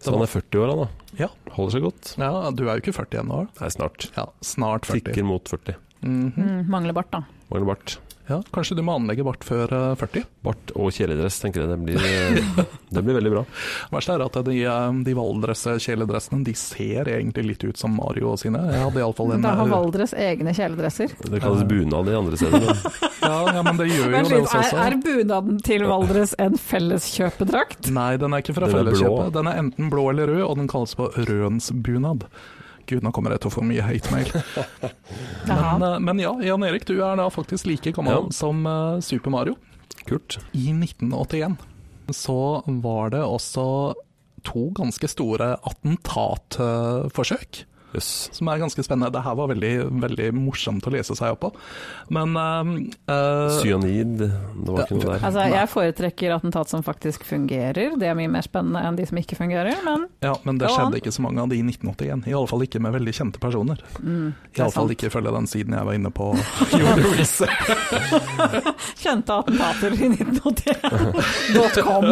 Speaker 2: Så han er 40 år, han da.
Speaker 4: Ja.
Speaker 2: Holder seg godt.
Speaker 4: Ja, du er jo ikke 40 ennå, er du?
Speaker 2: Nei, snart.
Speaker 4: Ja, snart 40.
Speaker 2: Tikker mot 40.
Speaker 4: Mhm.
Speaker 3: Mm, mangler bart, da.
Speaker 2: Mangler bart.
Speaker 4: Ja, kanskje du må anlegge bart før eh, 40?
Speaker 2: Bart og kjeledress, tenker jeg. Det blir, eh, det blir veldig bra.
Speaker 4: Verst er at de, eh, de valdresse kjeledressene de ser egentlig litt ut som Mario og sine. Jeg hadde iallfall en
Speaker 3: Da har
Speaker 4: eh,
Speaker 3: Valdres egne kjeledresser.
Speaker 2: Det kalles bunad i andre steder. Men
Speaker 4: Ja, ja, men det gjør jo
Speaker 3: Vent
Speaker 4: det
Speaker 3: litt,
Speaker 4: hos oss
Speaker 3: er, er
Speaker 4: også. altså.
Speaker 3: bunaden til Valdres en felleskjøpedrakt?
Speaker 4: Nei, den er ikke fra
Speaker 2: Den er blå.
Speaker 4: Felleskjøpet. Den er enten blå eller rød, og den kalles på rødensbunad. Gud, nå kommer jeg til å få mye hate mail. Men,
Speaker 3: Jaha.
Speaker 4: eh, men ja, Jan Erik, du er da faktisk like gammel
Speaker 2: Ja.
Speaker 4: som eh, Super Mario.
Speaker 2: kult.
Speaker 4: I 1981 så var det også to ganske store attentatforsøk,
Speaker 2: Jøss.
Speaker 4: som er ganske spennende. Det her var veldig, veldig morsomt å lese seg opp på. Men eh, eh,
Speaker 2: Cyanid, det var ikke noe der.
Speaker 3: Altså, jeg foretrekker attentat som faktisk fungerer, det er mye mer spennende enn de som ikke fungerer, men
Speaker 4: ja, men det
Speaker 3: Gå an.
Speaker 4: skjedde ikke så mange av de i 1981. Iallfall ikke med veldig kjente personer.
Speaker 3: mm, det er
Speaker 4: Iallfall
Speaker 3: sant.
Speaker 4: ikke følge den siden jeg var inne på.
Speaker 2: Altså,
Speaker 4: Gjorde research.
Speaker 3: Kjente attentater i 1981.com.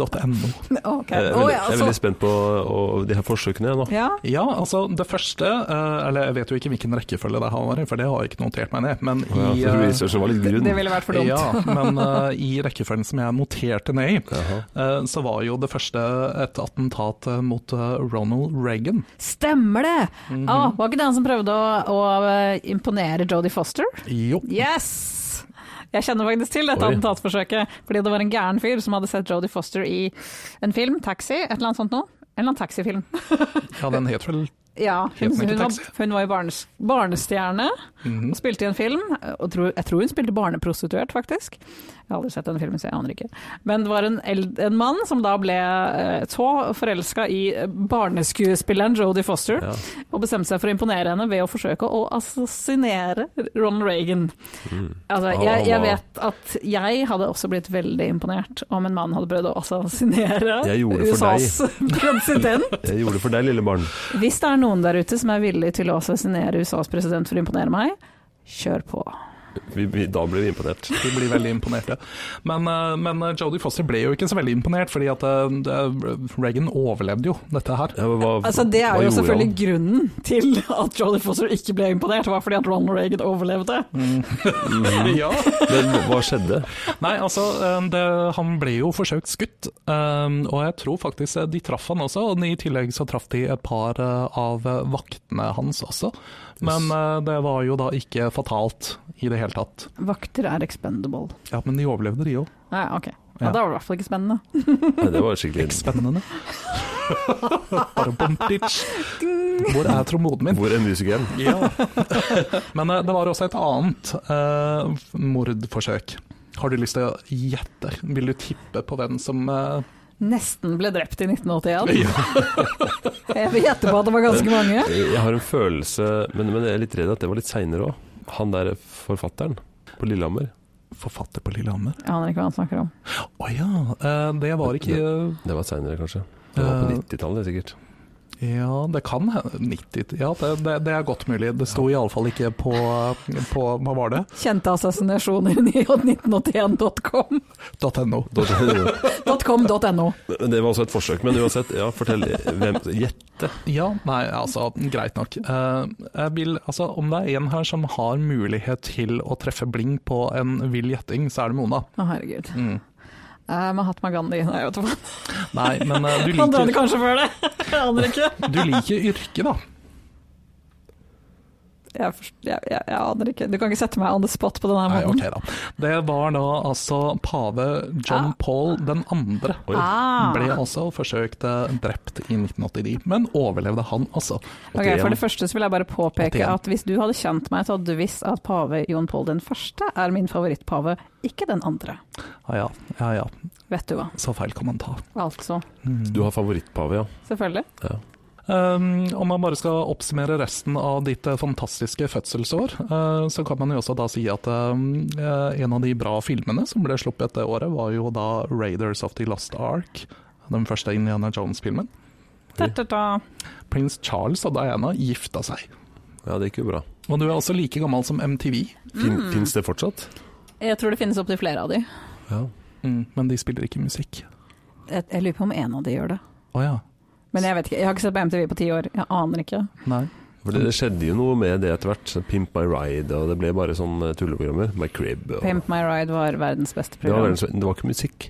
Speaker 4: Dot .no.
Speaker 3: Ok.
Speaker 2: Jeg er
Speaker 3: Å,
Speaker 2: veldig, jeg
Speaker 3: ja,
Speaker 2: er
Speaker 3: så-
Speaker 2: veldig spent på å- de her forsøkene, jeg nå.
Speaker 3: ja,
Speaker 4: Ja, altså det første eh, Eller jeg vet jo ikke hvilken rekkefølge det her var i, for det har jeg ikke notert meg ned. Men
Speaker 2: Ja,
Speaker 4: i
Speaker 2: jeg tror
Speaker 4: eh,
Speaker 2: researchen var litt grunn.
Speaker 3: det ville vært for dumt.
Speaker 4: Ja, men eh, i rekkefølgen som jeg noterte ned i,
Speaker 2: Jaha.
Speaker 4: eh, så var jo det første et attentat eh, mot eh, Ronald Reagan. Mhm.
Speaker 3: Stemmer det!
Speaker 2: Mhm.
Speaker 3: Ah, var ikke det han som prøvde å, å eh, imponere Jodie Foster?
Speaker 4: Jo.
Speaker 3: Yes! Jeg kjenner faktisk til dette
Speaker 2: Oi.
Speaker 3: attentatforsøket, fordi det var en gæren fyr som hadde sett Jodie Foster i en film, Taxi, et eller annet sånt noe. En eller annen taxifilm.
Speaker 4: Ja, den het vel
Speaker 3: Ja, hun,
Speaker 4: den ikke
Speaker 3: hun, var,
Speaker 4: Taxi?
Speaker 3: hun var jo barnes, barnestjerne
Speaker 4: Mhm.
Speaker 3: og spilte i en film. Og tror, jeg tror hun spilte barneprostituert, faktisk. Jeg har aldri sett den filmen, så jeg aner ikke. Men det var en, eld, en mann som da ble eh, så forelska i eh, barneskuespilleren Jodie Foster,
Speaker 2: Ja.
Speaker 3: og bestemte seg for å imponere henne ved å forsøke å assassinere Ronald Reagan.
Speaker 2: Mm.
Speaker 3: Altså,
Speaker 2: Han-
Speaker 3: jeg,
Speaker 2: han
Speaker 3: jeg
Speaker 2: var-
Speaker 3: vet at jeg hadde også blitt veldig imponert om en mann hadde prøvd å assassinere
Speaker 2: Jeg gjorde det for
Speaker 3: USAs president.
Speaker 2: Jeg gjorde det for deg, lille barn.
Speaker 3: Hvis det er noen der ute som er villig til å assassinere USAs president for å imponere meg, kjør på.
Speaker 2: Vi, vi, da ble vi imponert.
Speaker 4: de blir veldig imponerte. Men, eh, men eh, Jodie Foster ble jo ikke så veldig imponert, fordi at eh, det- Reagan overlevde jo dette her.
Speaker 2: Ja, men hva,
Speaker 3: Altså, det er
Speaker 2: hva
Speaker 3: jo
Speaker 2: gjorde
Speaker 3: selvfølgelig grunnen til at Jodie Foster ikke ble imponert, var fordi at Ronald Reagan overlevde.
Speaker 4: Ja.
Speaker 2: han? Mhm. Men hva skjedde?
Speaker 4: Nei, altså, eh, det, han ble jo forsøkt skutt, eh, og jeg tror faktisk eh, de traff han også. Og i tillegg så traff de et par eh, av eh, vaktene hans også. Men
Speaker 2: Yes.
Speaker 4: eh, det var jo da ikke fatalt i det hele tatt.
Speaker 3: Vakter er expendable.
Speaker 4: Ja, men de overlevde, de òg.
Speaker 3: Nei, ok. Ja,
Speaker 4: Ja.
Speaker 3: Da var det i hvert fall ikke spennende.
Speaker 2: Nei, det var skikkelig
Speaker 4: Spennende. Bare bom, ditch. Hvor er tromboden min?
Speaker 2: Hvor er musikeren?
Speaker 4: Ja. Men eh, det var også et annet eh, f- mordforsøk. Har du lyst til å gjette? Vil du tippe på hvem som eh,
Speaker 3: Nesten ble drept i 1981. Jeg vil gjette på at det var ganske mange.
Speaker 2: Eh, Jeg har en følelse, men, men jeg er litt redd at det var litt seinere òg. Han der forfatteren på Lillehammer.
Speaker 4: Forfatter på Lillehammer?
Speaker 3: Jeg aner ikke hva han snakker om.
Speaker 4: Å ja, eh, det var ikke
Speaker 2: Det var seinere, kanskje. Det var på
Speaker 4: Eh.
Speaker 2: 90-tallet, sikkert.
Speaker 4: Ja, det kan hende 90 Ja, det, det, det er godt mulig. Det sto iallfall ikke på, på Hva var det?
Speaker 3: Kjente assassinasjoner i 1981.com.
Speaker 4: .no.
Speaker 3: .com.no.
Speaker 2: Men Det var også et forsøk, men uansett, ja, fortell hvem Gjette.
Speaker 4: Ja, nei, altså, greit nok. Eh, jeg vil, altså, om det er en her som har mulighet til å treffe bling på en vill gjetting, så er det Mona.
Speaker 3: Å, herregud.
Speaker 4: Mm.
Speaker 3: Eh, Mahatma Gandhi. Nei, jeg vet hva.
Speaker 4: Nei, men eh, du,
Speaker 3: Han døde
Speaker 4: liker,
Speaker 3: kanskje før det. Jeg aner ikke.
Speaker 4: du liker yrket, da.
Speaker 3: jeg, forst- jeg, jeg, jeg aner ikke. Du kan ikke sette meg on the spot på denne
Speaker 4: Nei,
Speaker 3: måten.
Speaker 4: ok da. Det var da altså pave John Paul den andre.
Speaker 2: Oi.
Speaker 3: Ah.
Speaker 4: Ble altså forsøkt eh, drept i 1989, men overlevde han altså.
Speaker 3: Ok, For det første så vil jeg bare påpeke
Speaker 4: 81.
Speaker 3: at hvis du hadde kjent meg, så hadde du visst at pave Jon Pål den første er min favorittpave, ikke den andre.
Speaker 4: Ja ja, ja ja,
Speaker 3: Vet du hva.
Speaker 4: så feil kommentar.
Speaker 3: Altså.
Speaker 2: Du har favorittpave, ja.
Speaker 3: Selvfølgelig.
Speaker 4: Um, om man bare skal oppsummere resten av ditt eh, fantastiske fødselsår, eh, så kan man jo også da si at um, eh, en av de bra filmene som ble sluppet det året, var jo da 'Raiders of the Lost Ark'. Den første Indiana Jones-filmen.
Speaker 3: Ta, ta, ta.
Speaker 4: Prins Charles og Diana gifta seg.
Speaker 2: Ja, det gikk jo bra.
Speaker 4: Og du er også like gammel som MTV,
Speaker 2: Fin,
Speaker 3: Mm.
Speaker 2: Fins det fortsatt?
Speaker 3: Jeg tror det finnes opptil flere av de.
Speaker 2: Ja.
Speaker 4: Mm, men de spiller ikke musikk.
Speaker 3: Jeg, jeg lurer på om en av de gjør det.
Speaker 4: Å ja.
Speaker 3: Men jeg vet ikke, jeg har ikke sett på MTV på ti år. Jeg aner ikke.
Speaker 4: Nei.
Speaker 2: For det, det skjedde jo noe med det etter hvert. Pimp my ride, og det ble bare sånn eh, tulleprogrammer. My crib. Og,
Speaker 3: Pimp My Ride var verdens beste
Speaker 2: det, var
Speaker 3: program.
Speaker 2: verdens- det var ikke musikk.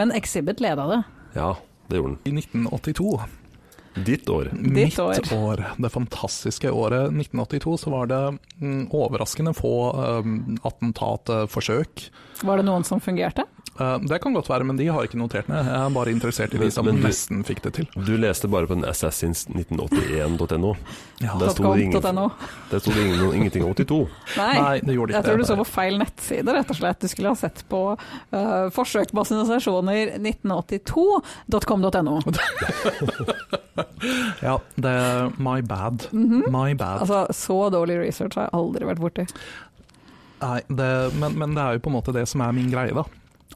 Speaker 3: Men Exhibit leda det.
Speaker 2: Ja, det gjorde
Speaker 4: I 1982
Speaker 2: den. Ditt år.
Speaker 4: Mitt
Speaker 3: år.
Speaker 4: år. det fantastiske året 1982, så var det mm, overraskende få um, attentatforsøk.
Speaker 3: Var det noen som fungerte?
Speaker 4: Eh, det kan godt være, men de har ikke notert ned. Jeg er bare interessert i de
Speaker 2: Men-
Speaker 4: som
Speaker 2: men du-
Speaker 4: nesten fikk det til.
Speaker 2: Du leste bare på den assassins1981.no.
Speaker 4: Ja.
Speaker 2: Der sto det ingen-
Speaker 3: .com.no.
Speaker 2: der sto det ingen, ingenting om 82.
Speaker 3: Nei.
Speaker 4: Nei, det gjorde ikke
Speaker 3: Jeg tror
Speaker 4: det.
Speaker 3: du så på feil nettside, rett og slett. Du skulle ha sett på eh, forsøk på assosiasjoner 1982.com.no.
Speaker 4: Ja, det My bad. My bad.
Speaker 3: Altså, så dårlig research har jeg aldri vært borti.
Speaker 4: Nei, det, men, men det er jo på en måte det som er min greie, da.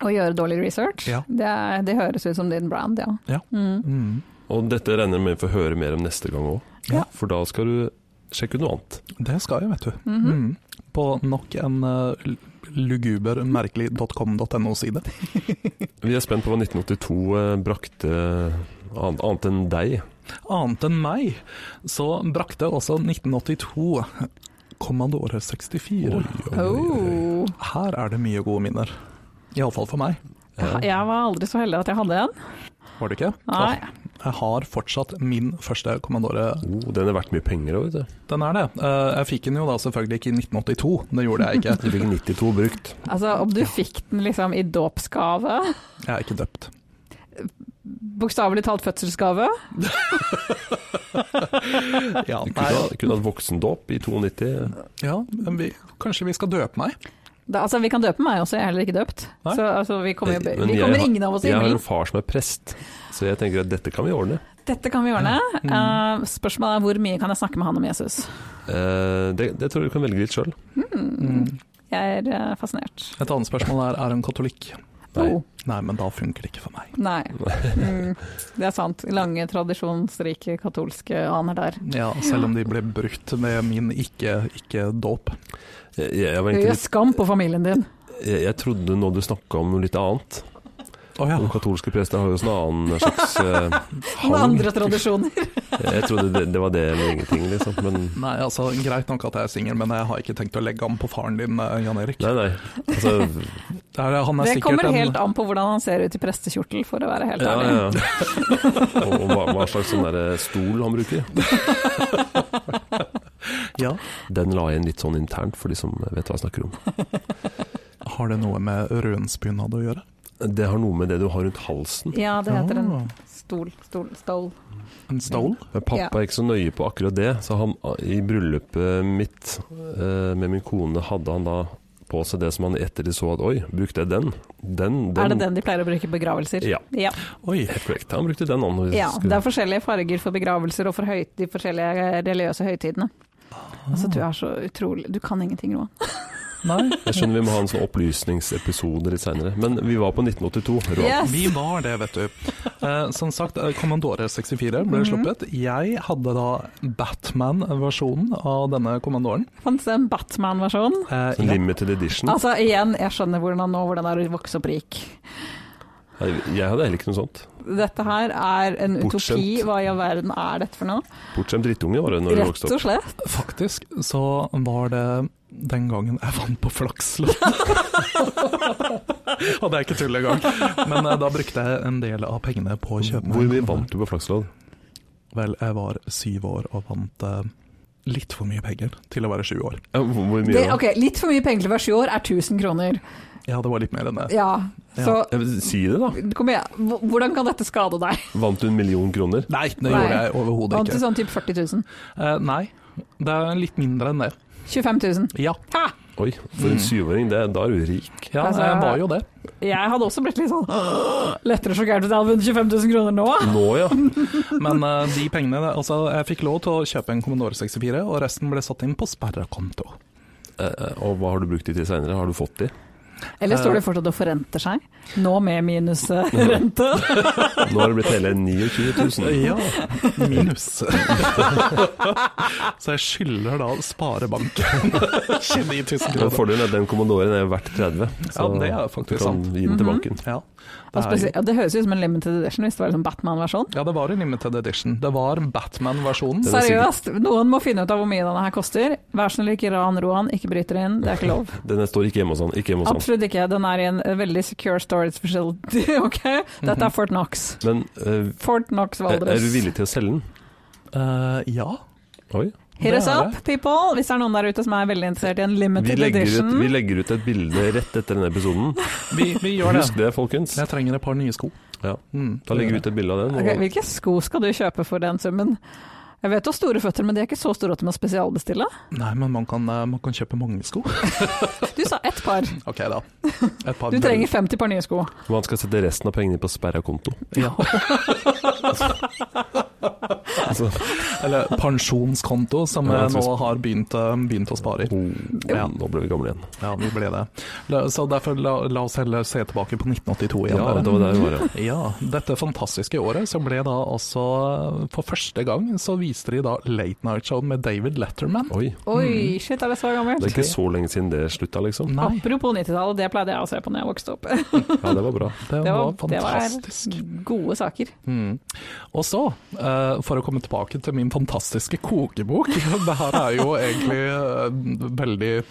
Speaker 3: Å gjøre dårlig research,
Speaker 4: Ja.
Speaker 3: det, er- det høres ut som din brand, ja.
Speaker 4: Ja.
Speaker 3: Mm.
Speaker 4: Mm.
Speaker 2: Og dette regner jeg med vi får høre mer om neste gang òg.
Speaker 4: Ja.
Speaker 2: For da skal du sjekke ut noe annet.
Speaker 4: Det skal jeg, vet du.
Speaker 3: Mhm.
Speaker 4: Mm. På nok en eh, luguber, merkelig.com.no-side.
Speaker 2: Vi er spent på hva 1982 eh, brakte annet, annet enn deg.
Speaker 4: Annet enn meg, så brakte også 1982 Commodore 64.
Speaker 3: Oh.
Speaker 4: Her er det mye gode minner. Iallfall for meg,
Speaker 3: Jeg jeg var aldri så heldig at jeg hadde en.
Speaker 4: var det ikke?
Speaker 3: Nei.
Speaker 4: Ja. Jeg har fortsatt min første Commodore.
Speaker 2: Oh, den er verdt mye penger òg, vet du.
Speaker 4: Den er det. Eh, Jeg fikk den jo da selvfølgelig ikke i 1982, det gjorde jeg
Speaker 2: Du
Speaker 4: ikke.
Speaker 2: fikk 92 brukt.
Speaker 3: Altså, om du fikk den liksom i dåpsgave,
Speaker 4: Jeg er ikke døpt.
Speaker 3: bokstavelig talt fødselsgave,
Speaker 4: Ja,
Speaker 2: Du
Speaker 4: nei,
Speaker 2: kunne, ha- kunne hatt voksendåp i 92.
Speaker 4: ja men vi, kanskje vi skal døpe meg?
Speaker 3: Da, altså, vi kan døpe meg også, jeg er heller ikke døpt.
Speaker 4: Nei.
Speaker 3: Så altså, vi kommer, jo-
Speaker 2: Men
Speaker 3: vi
Speaker 2: jeg
Speaker 3: kommer
Speaker 2: har-
Speaker 3: ingen av oss i
Speaker 2: Jeg har
Speaker 3: himmelen.
Speaker 2: en far som er prest, så jeg tenker at dette kan vi ordne.
Speaker 3: Dette kan vi ordne. Eh, spørsmålet er hvor mye kan jeg snakke med han om Jesus? Hmm.
Speaker 2: Eh, det, det tror jeg du kan velge litt sjøl.
Speaker 4: Mm.
Speaker 3: Jeg er eh, fascinert.
Speaker 4: Et annet spørsmål er er hun katolikk?
Speaker 2: Nei.
Speaker 3: Oh,
Speaker 4: Nei, men da funker det ikke for meg.
Speaker 3: nei. Mm, det er sant. Lange, tradisjonsrike katolske aner der.
Speaker 4: Ja, selv om de ble brutt med min ikke-ikke-dåp.
Speaker 2: Jeg, jeg, var egentlig
Speaker 3: Høye
Speaker 2: litt,
Speaker 3: skam på familien din.
Speaker 2: jeg, jeg trodde nå du snakka om noe litt annet.
Speaker 4: Å ja.
Speaker 2: Og katolske prester har jo også en annen slags eh,
Speaker 3: Med
Speaker 2: hang.
Speaker 3: andre tradisjoner.
Speaker 2: Jeg trodde det, det var det eller ingenting, liksom. Men
Speaker 4: Nei, altså, greit nok at jeg er singel, men jeg har ikke tenkt å legge an på faren din, eh, Jan Erik.
Speaker 2: nei, nei. Altså,
Speaker 4: Det er- han er
Speaker 3: Det
Speaker 4: sikkert
Speaker 3: kommer
Speaker 4: en-
Speaker 3: helt an på hvordan han ser ut i prestekjortel, for å være helt
Speaker 2: Ja,
Speaker 3: ærlig.
Speaker 2: ja. Og, og hva, hva slags sånn der stol han bruker.
Speaker 4: Ja.
Speaker 2: Den la jeg inn litt sånn internt, for de som vet hva jeg snakker om.
Speaker 4: Har det noe med rødensbunad å gjøre?
Speaker 2: Det har noe med det du har rundt halsen.
Speaker 3: Ja, det heter en
Speaker 4: Ah,
Speaker 3: stol, stol, stol.
Speaker 4: en stole?
Speaker 2: Men pappa er ikke så nøye på akkurat det, så han i bryllupet mitt eh, med min kone hadde han da på seg det som han i ettertid så at oi, brukte jeg den? Den, den.
Speaker 3: Er det den de pleier å bruke i begravelser?
Speaker 2: Ja.
Speaker 3: ja.
Speaker 4: Oi.
Speaker 2: Helt korrekt. Han brukte den. Han,
Speaker 3: Ja, det er forskjellige farger for begravelser og for høy, de forskjellige religiøse høytidene. Altså, du er så utrolig Du kan ingenting, Roan.
Speaker 4: Nei,
Speaker 2: Jeg skjønner vi må ha en sånn opplysningsepisode litt seinere. Men vi var på 1982. Roald.
Speaker 4: vi var det, vet du. Eh, som sagt, eh, Commodore 64
Speaker 3: Mhm.
Speaker 4: ble sluppet. Jeg hadde da Batman-versjonen av denne Commandoren.
Speaker 3: Fantes det en Batman-versjon?
Speaker 4: Eh,
Speaker 2: Sånn Limited edition.
Speaker 3: Altså, igjen, jeg skjønner hvordan nå hvordan det er å vokse opp rik.
Speaker 2: Jeg jeg hadde heller ikke noe sånt.
Speaker 3: Dette her er en utopi.
Speaker 2: Bortskjemt.
Speaker 3: Hva i all verden er dette for noe?
Speaker 2: Bortsett fra drittunge var det når vi
Speaker 3: Rett
Speaker 2: vokste opp.
Speaker 3: og slett.
Speaker 4: Faktisk så var det den gangen jeg vant på Flakslån. Og det er ikke tull engang. Men eh, da brukte jeg en del av pengene på å kjøpe meg
Speaker 2: Hvor mye vant du på flakslodd?
Speaker 4: Vel, jeg var syv år og vant eh, litt for mye penger til å være 20 år.
Speaker 2: Ja, hvor hvor mye
Speaker 3: Det,
Speaker 2: da?
Speaker 3: ok, Litt for mye penger til å være sju år er 1000 kroner.
Speaker 4: Ja, det var litt mer enn det.
Speaker 3: Ja, så
Speaker 2: Ja, men Si det, da.
Speaker 3: kom igjen. H- Hvordan kan dette skade deg?
Speaker 2: Vant du en million kroner?
Speaker 4: Nei, det
Speaker 3: Nei.
Speaker 4: gjorde jeg overhodet
Speaker 3: Vant
Speaker 4: ikke.
Speaker 3: til sånn type 40 000.
Speaker 4: Eh, nei, det er litt mindre enn det.
Speaker 3: 25 000.
Speaker 4: Ja,
Speaker 3: Ha!
Speaker 2: Oi, for
Speaker 3: Mm.
Speaker 2: en syvåring. det- Da er du rik.
Speaker 4: ja
Speaker 3: Altså,
Speaker 4: jeg var jo det.
Speaker 3: Jeg hadde også blitt litt sånn lettere sjokkert hvis jeg hadde vunnet 25 000 kroner nå.
Speaker 2: Nå, ja.
Speaker 4: Men eh, de pengene Altså, jeg fikk lov til å kjøpe en Commodore 64, og resten ble satt inn på sperrekonto.
Speaker 2: Eh, eh, Og hva har du brukt de til seinere? Har du fått de?
Speaker 3: Eller står det fortsatt og forrenter seg? Nå med eh, minusrente.
Speaker 2: Nå har det blitt hele 29 000.
Speaker 4: Ja, minus. Så jeg skylder da sparebanken 29 000
Speaker 2: Men
Speaker 4: kroner.
Speaker 2: Fordelen er at den kommandoren er verdt 30, så
Speaker 4: Ja, det er faktisk
Speaker 2: du kan
Speaker 4: sant.
Speaker 2: gi den
Speaker 3: Mhm.
Speaker 2: til banken.
Speaker 4: Ja,
Speaker 3: Og
Speaker 4: det, er,
Speaker 3: spesielt- ja, det høres ut som en limited edition hvis det var en sånn Batman-versjon.
Speaker 4: ja, det var en limited edition. Det var Batman-versjonen.
Speaker 2: er sikkert-
Speaker 3: Seriøst, noen må finne ut av hvor mye denne her koster. Vær så snill, ikke ran Roan, ikke bryter inn, det er ikke lov.
Speaker 2: Den står ikke hjemme hos han. Ikke hjemme hos han.
Speaker 3: Absolutt ikke, den er i en eh, veldig secure storage facility, ok? Dette er Fort Knox.
Speaker 2: Men eh,
Speaker 3: Fort Knox
Speaker 2: Mhm. er, er du
Speaker 3: Valdres.
Speaker 2: villig til å selge den?
Speaker 4: Eh, ja.
Speaker 2: Oi.
Speaker 3: Hit us
Speaker 4: Det er
Speaker 3: up, people, hvis det er noen der ute som er veldig interessert i en
Speaker 2: Vi
Speaker 3: limited
Speaker 2: legger, ut, vi
Speaker 3: edition.
Speaker 2: legger ut et bilde rett etter denne episoden.
Speaker 4: Vi, vi gjør det.
Speaker 2: Husk det, folkens.
Speaker 4: Jeg trenger et par nye sko.
Speaker 2: Ja.
Speaker 4: Mm,
Speaker 2: Da legger vi ut et bilde av den.
Speaker 3: Ok,
Speaker 2: Og
Speaker 3: hvilke sko skal du kjøpe for den summen? Jeg vet du har store føtter, men de er ikke så store at du må spesialbestille.
Speaker 4: Nei, men man kan, eh, man kan kjøpe mange sko.
Speaker 3: Du sa ett par.
Speaker 4: Ok, da. Et par
Speaker 3: Du trenger 50 par nye sko.
Speaker 2: man skal sette resten av pengene på sperra konto.
Speaker 4: Ja.
Speaker 2: Altså,
Speaker 4: Eller pensjonskonto, som
Speaker 2: Ja,
Speaker 4: jeg
Speaker 2: jeg
Speaker 4: nå
Speaker 2: tror-
Speaker 4: har begynt, eh, begynt å spare
Speaker 3: Oh.
Speaker 4: i.
Speaker 2: ja, nå ble vi gamle igjen.
Speaker 4: Ja, vi ble det. La, så derfor la, la oss heller se tilbake på 1982 igjen.
Speaker 2: Ja,
Speaker 4: dere.
Speaker 2: det var der vi var, ja.
Speaker 4: Ja, dette fantastiske året så ble da altså For første gang så viste de da Late Night Show med David Letterman.
Speaker 2: Oi.
Speaker 3: Oi, shit, er det så
Speaker 2: Mhm.
Speaker 3: gammelt?
Speaker 2: Det er ikke så lenge siden det slutta,
Speaker 3: Mm.
Speaker 2: liksom.
Speaker 4: Nei,
Speaker 3: Apropos 90-tallet, det pleide jeg å se på når jeg vokste opp.
Speaker 2: Ja, det var bra.
Speaker 4: det
Speaker 3: Det var,
Speaker 4: var fantastisk.
Speaker 3: det var gode saker.
Speaker 4: Mm. Og så, eh, for å komme tilbake til min fantastiske kokebok Det her er jo egentlig eh, veldig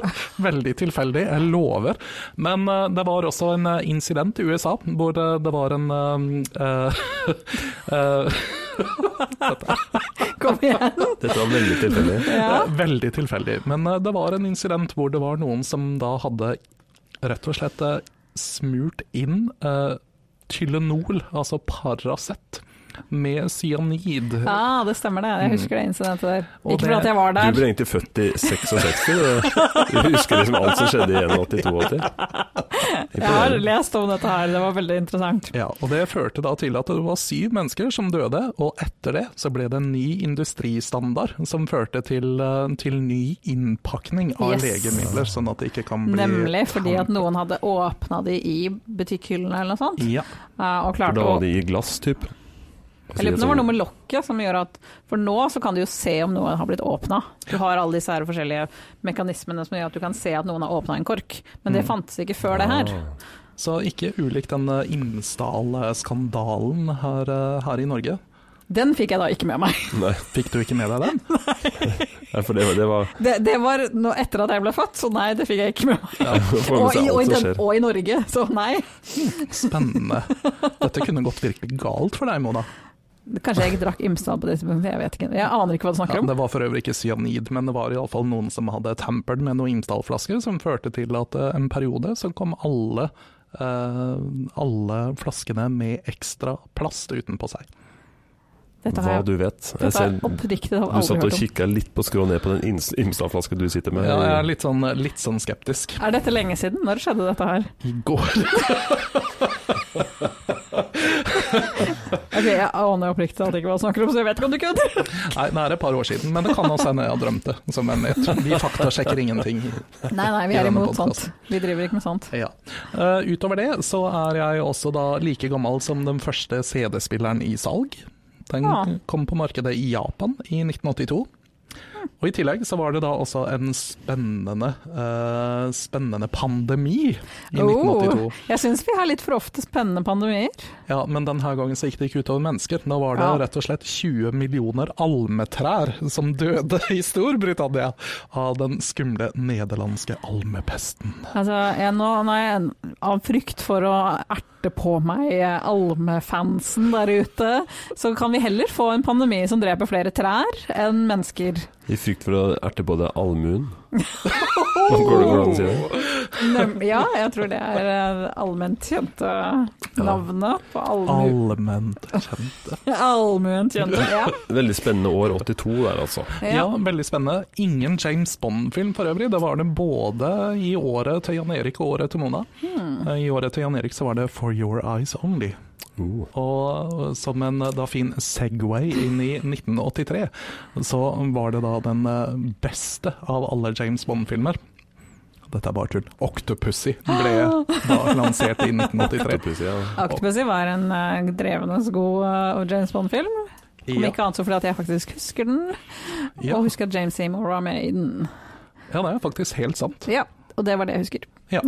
Speaker 4: Veldig tilfeldig, jeg lover. Men eh, det var også en eh, incident i USA hvor det, det var en eh, eh,
Speaker 3: Kom igjen.
Speaker 2: Dette var veldig tilfeldig.
Speaker 3: Ja.
Speaker 4: Veldig tilfeldig. Men eh, det var en incident hvor det var noen som da hadde rett og slett eh, smurt inn eh, Tylenol, altså Paracet, med cyanid.
Speaker 3: Ah, det stemmer det. Jeg husker det incidentet der.
Speaker 4: Og
Speaker 3: Ikke
Speaker 4: det-
Speaker 3: fordi at jeg var
Speaker 2: Du
Speaker 3: der.
Speaker 2: ble egentlig født i 66. Du du husker liksom alt som skjedde i 81-82.
Speaker 3: Jeg har lest om dette her, det var veldig interessant.
Speaker 4: Ja, og Det førte da til at det var syv mennesker som døde, og etter det så ble det en ny industristandard som førte til, eh, til ny innpakning av
Speaker 3: Yes.
Speaker 4: legemidler, sånn at det ikke kan bli
Speaker 3: Nemlig fordi at noen hadde åpna de i butikkhyllene eller noe sånt,
Speaker 4: Ja,
Speaker 3: eh, og
Speaker 2: For
Speaker 3: klarte
Speaker 2: da
Speaker 3: å
Speaker 2: var de i glass, typ.
Speaker 3: Jeg lurer på om det var noe med lokket som gjør at For nå så kan du jo se om noe har blitt åpna. Du har alle disse her forskjellige mekanismene som gjør at du kan se at noen har åpna en kork, men det fantes ikke før det
Speaker 2: Ah.
Speaker 3: her.
Speaker 4: Så ikke ulikt den eh, Imsdal-skandalen her, eh, her i Norge.
Speaker 3: Den fikk jeg da ikke med meg.
Speaker 2: Nei,
Speaker 4: Fikk du ikke med deg den?
Speaker 2: Nei, for det, var- det var
Speaker 3: Det, det var nå etter at jeg ble født, så nei, det fikk jeg ikke med meg.
Speaker 2: Får med
Speaker 3: Og i,
Speaker 2: seg
Speaker 3: og, i
Speaker 2: alt som
Speaker 3: den,
Speaker 2: skjer.
Speaker 3: og i Norge, så nei.
Speaker 4: Spennende. Dette kunne gått virkelig galt for deg, Mona.
Speaker 3: Kanskje jeg ikke drakk Imsdal på det tidspunktet, jeg vet ikke. Jeg aner ikke hva du
Speaker 4: Ja,
Speaker 3: snakker om.
Speaker 4: det var for øvrig ikke cyanid, men det var iallfall noen som hadde tampert med noen Imsdal-flasker, som førte til at eh, en periode så kom alle eh, alle flaskene med ekstra plast utenpå seg.
Speaker 3: Dette har
Speaker 2: Hva
Speaker 3: jeg,
Speaker 2: du vet. Jeg
Speaker 3: dette har jeg
Speaker 2: ser
Speaker 3: oppriktig
Speaker 2: du
Speaker 3: talt aldri
Speaker 2: satt og
Speaker 3: hørt om.
Speaker 2: kikka litt på skrå ned på den Ins- Imstad-flaska du sitter med.
Speaker 4: Ja, jeg er litt sånn, litt sånn skeptisk.
Speaker 3: Er dette lenge siden? Når skjedde dette her?
Speaker 4: I går
Speaker 3: Ok, Jeg aner oppriktig talt ikke hva du snakker om, så jeg vet ikke om du kødder.
Speaker 4: Nei, det er et par år siden, men det kan også hende jeg har drømt det, som en vet. Vi faktasjekker ingenting.
Speaker 3: Nei, nei, vi
Speaker 4: I
Speaker 3: er
Speaker 4: denne
Speaker 3: imot sånt.
Speaker 4: podcasten.
Speaker 3: Vi driver ikke med sånt.
Speaker 4: Ja. Eh, utover det så er jeg også da like gammel som den første CD-spilleren i salg. Den
Speaker 3: Ja.
Speaker 4: kom på markedet i Japan i 1982. Og I tillegg så var det da også en spennende, eh, spennende pandemi
Speaker 3: Oh.
Speaker 4: i 1982.
Speaker 3: Jeg syns vi har litt for ofte spennende pandemier.
Speaker 4: Ja, Men denne gangen så gikk det ikke utover mennesker. Da var det
Speaker 3: Ja.
Speaker 4: rett og slett 20 millioner almetrær som døde i Storbritannia av den skumle nederlandske almepesten.
Speaker 3: Altså, jeg, nå, nå er jeg av frykt for å erte på meg eh, almefansen der ute, så kan vi heller få en pandemi som dreper flere trær enn mennesker.
Speaker 2: I frykt for å erte på deg allmuen. Går det hvordan sier det?
Speaker 3: Nem- Ja, jeg tror det er eh, allment kjente navnet på almu-
Speaker 4: Allment kjent.
Speaker 3: allmuen. Kjente, ja.
Speaker 2: Veldig spennende år 82 der, altså.
Speaker 3: Ja.
Speaker 4: Ja, veldig spennende. Ingen James Bond-film for øvrig. Det var det både i året til Jan Erik og året til Mona. Eh, I året til Jan Erik så var det For Your Eyes Only.
Speaker 2: Uh.
Speaker 4: Og som en eh, da fin Segway inn i 1983, så var det da den eh, beste av alle James Bond-filmer. Dette er bare tull. Octopussy ble da lansert i 1983.
Speaker 2: Plutselig, ja.
Speaker 3: Octopussy var en eh, drevende god eh, James Bond-film. Om ikke annet så fordi at jeg faktisk husker den,
Speaker 4: Ja,
Speaker 3: og husker at James Seymour var med i den.
Speaker 4: ja, det er faktisk helt sant.
Speaker 3: Ja, og det var det jeg husker.
Speaker 4: Ja.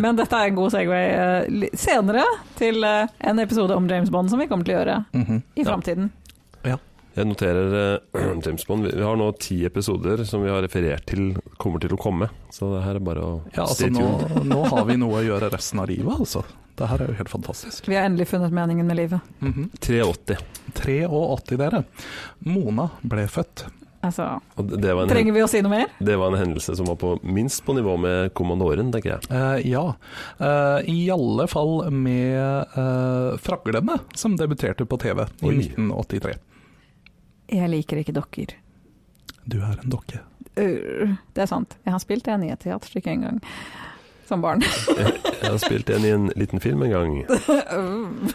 Speaker 3: Men dette er en god segway eh, li- senere til eh, en episode om James Bond som vi kommer til å gjøre
Speaker 4: Mhm.
Speaker 3: i framtiden.
Speaker 2: Jeg noterer eh, James Bond. Vi- Vi har nå ti episoder som vi har referert til kommer til å komme. Så det her er bare å
Speaker 4: Ja, altså
Speaker 2: stay
Speaker 4: nå,
Speaker 2: tuned.
Speaker 4: nå har vi noe å gjøre resten av livet, altså. Det her er jo helt fantastisk.
Speaker 3: Vi har endelig funnet meningen med livet.
Speaker 4: Mhm.
Speaker 2: 83.
Speaker 4: 83, dere. Mona ble født.
Speaker 3: Altså,
Speaker 2: Og det- det var, en, hen-
Speaker 3: trenger vi å si noe mer?
Speaker 2: det var en hendelse som var på minst på nivå med kommandåren, tenker jeg.
Speaker 4: Eh, ja, Eh, i alle fall med eh, Fraglene, som debuterte på TV i
Speaker 2: Oi.
Speaker 4: 1983.
Speaker 3: Jeg liker ikke dokker.
Speaker 4: Du er en dokke.
Speaker 3: Øh, det er sant. Jeg har spilt det i et teaterstykke en gang. Som barn.
Speaker 2: Jeg har spilt en i en liten film en gang.
Speaker 3: Øh.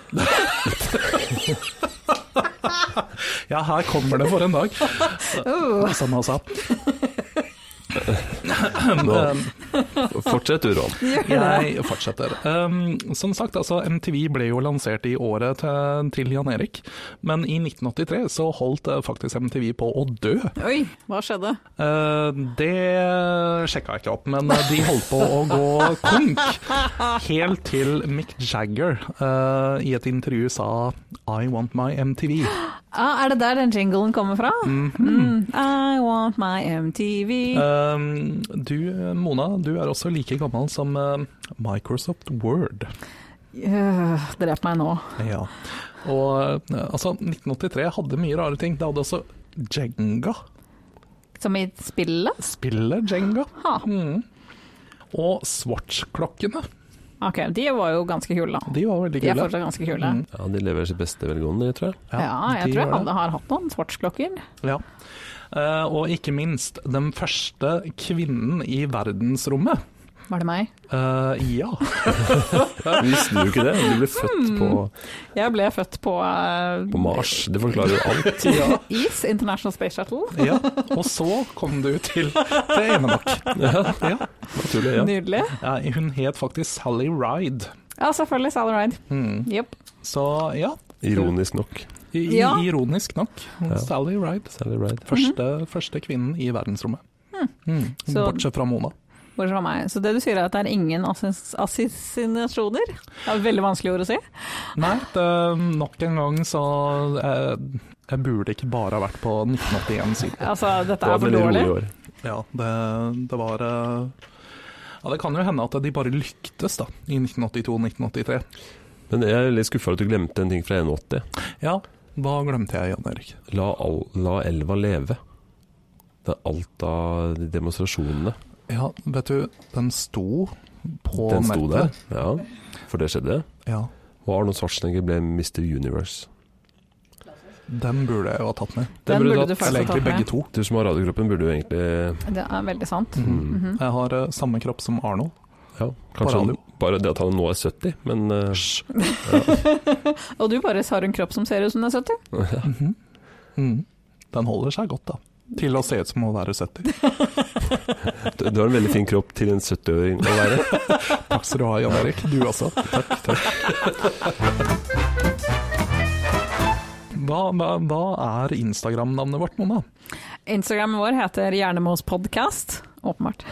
Speaker 4: Ja, her kommer det for en dag,
Speaker 3: Øh.
Speaker 4: som han sa. Eh,
Speaker 2: Nå, fortsett du, Ron.
Speaker 3: Gjør det.
Speaker 4: Jeg fortsetter. Um, som sagt, altså, MTV ble jo lansert i året til, til Jan Erik, men i 1983 så holdt eh, faktisk MTV på å dø.
Speaker 3: Oi, hva skjedde?
Speaker 4: Eh, det sjekka jeg ikke opp, men eh, de holdt på å gå konk. Helt til Mick Jagger eh, i et intervju sa 'I want my MTV'.
Speaker 3: Ah, er det der den jinglen kommer fra? Mm. I want my MTV.
Speaker 4: Um, du, Mona, du er også like gammel som eh, Microsoft Word.
Speaker 3: Øh, drep meg nå.
Speaker 4: Ja. Og eh, altså, 1983 hadde mye rare ting. Det hadde også Jenga.
Speaker 3: Som i spillet?
Speaker 4: Spillet Jenga.
Speaker 3: Ha.
Speaker 4: Mm. Og Swatch-klokkene.
Speaker 3: Ok, de var jo ganske kule da.
Speaker 4: De var veldig
Speaker 3: De er
Speaker 4: kule.
Speaker 3: fortsatt ganske kule.
Speaker 4: Mm.
Speaker 2: Ja, de lever sitt beste velgående, jeg tror jeg.
Speaker 3: Ja, jeg
Speaker 4: de
Speaker 3: tror jeg
Speaker 4: var det.
Speaker 3: hadde, har hatt noen svartsklokker.
Speaker 4: Ja. Eh, og ikke minst den første kvinnen i verdensrommet.
Speaker 3: Var det meg?
Speaker 4: Eh, ja.
Speaker 2: Visste du ikke det? Du ble født på,
Speaker 3: Jeg ble født på, eh,
Speaker 2: på Mars. Det forklarer jo alt.
Speaker 4: ja.
Speaker 3: IS, International Space Shuttle.
Speaker 4: Ja. Og så kom du til, til Evenok. Ja.
Speaker 2: Naturlig, ja.
Speaker 3: Nydelig.
Speaker 4: Eh, hun het faktisk Sally Ride.
Speaker 3: Ja, selvfølgelig Sally Ride.
Speaker 4: Mm.
Speaker 3: Jep.
Speaker 4: Så ja,
Speaker 2: Ironisk nok.
Speaker 4: i, i-
Speaker 3: Ja.
Speaker 4: ironisk nok.
Speaker 2: Ja.
Speaker 4: Sally Ride.
Speaker 2: Sally Ride.
Speaker 4: Første, første kvinnen i verdensrommet. Mm.
Speaker 3: Mhm. Hmm. Så-
Speaker 4: Bortsett fra Mona.
Speaker 3: Bortsett fra meg. Så det du sier er at det er ingen assis- assassinasjoner? Det er veldig vanskelig ord å si.
Speaker 4: Nei, det, nok en gang så eh, Jeg burde ikke bare ha vært på 1981-siden.
Speaker 3: Altså, dette
Speaker 2: Det var
Speaker 3: er
Speaker 2: et
Speaker 3: for
Speaker 2: veldig
Speaker 3: dårlig.
Speaker 2: rolig år.
Speaker 4: Ja, det, det var eh, Ja, det kan jo hende at de bare lyktes, da, i 1982-1983.
Speaker 2: Men jeg er litt skuffa at du glemte en ting fra 81.
Speaker 4: Ja, hva glemte jeg, Jan Erik?
Speaker 2: La, al la elva leve. Det er alt av de demonstrasjonene.
Speaker 4: Ja, vet du, den sto på
Speaker 2: Den sto der.
Speaker 4: nettet.
Speaker 2: Ja, for det skjedde.
Speaker 4: Ja,
Speaker 2: Og Arnold Schwarzenegger ble Mr. Universe.
Speaker 4: den burde jeg jo ha tatt med.
Speaker 2: Den
Speaker 3: Den
Speaker 2: burde
Speaker 3: burde
Speaker 2: du
Speaker 3: du
Speaker 2: tatt.
Speaker 3: faktisk
Speaker 4: Eller
Speaker 3: ha tatt
Speaker 4: egentlig begge
Speaker 3: med.
Speaker 4: to.
Speaker 2: Du som har radiokroppen, burde jo egentlig
Speaker 3: Det er veldig sant.
Speaker 2: Mm.
Speaker 3: Mhm.
Speaker 4: Jeg har eh, samme kropp som Arnold.
Speaker 2: Ja, kanskje
Speaker 4: radio.
Speaker 2: han, bare det at han nå er 70, men eh,
Speaker 3: Og du bare har en kropp som ser ut som den er 70.
Speaker 4: Mhm. Mhm. Den holder seg godt, da. Til å se ut som å være 70.
Speaker 2: du du har en veldig fin kropp til en 70-åring å være.
Speaker 4: Takk skal du ha, Jan Erik. Du også. Takk, takk. Hva, hva, hva er Instagram-navnet vårt, Mona?
Speaker 3: Instagrammen vår heter Hjernemos podcast, åpenbart.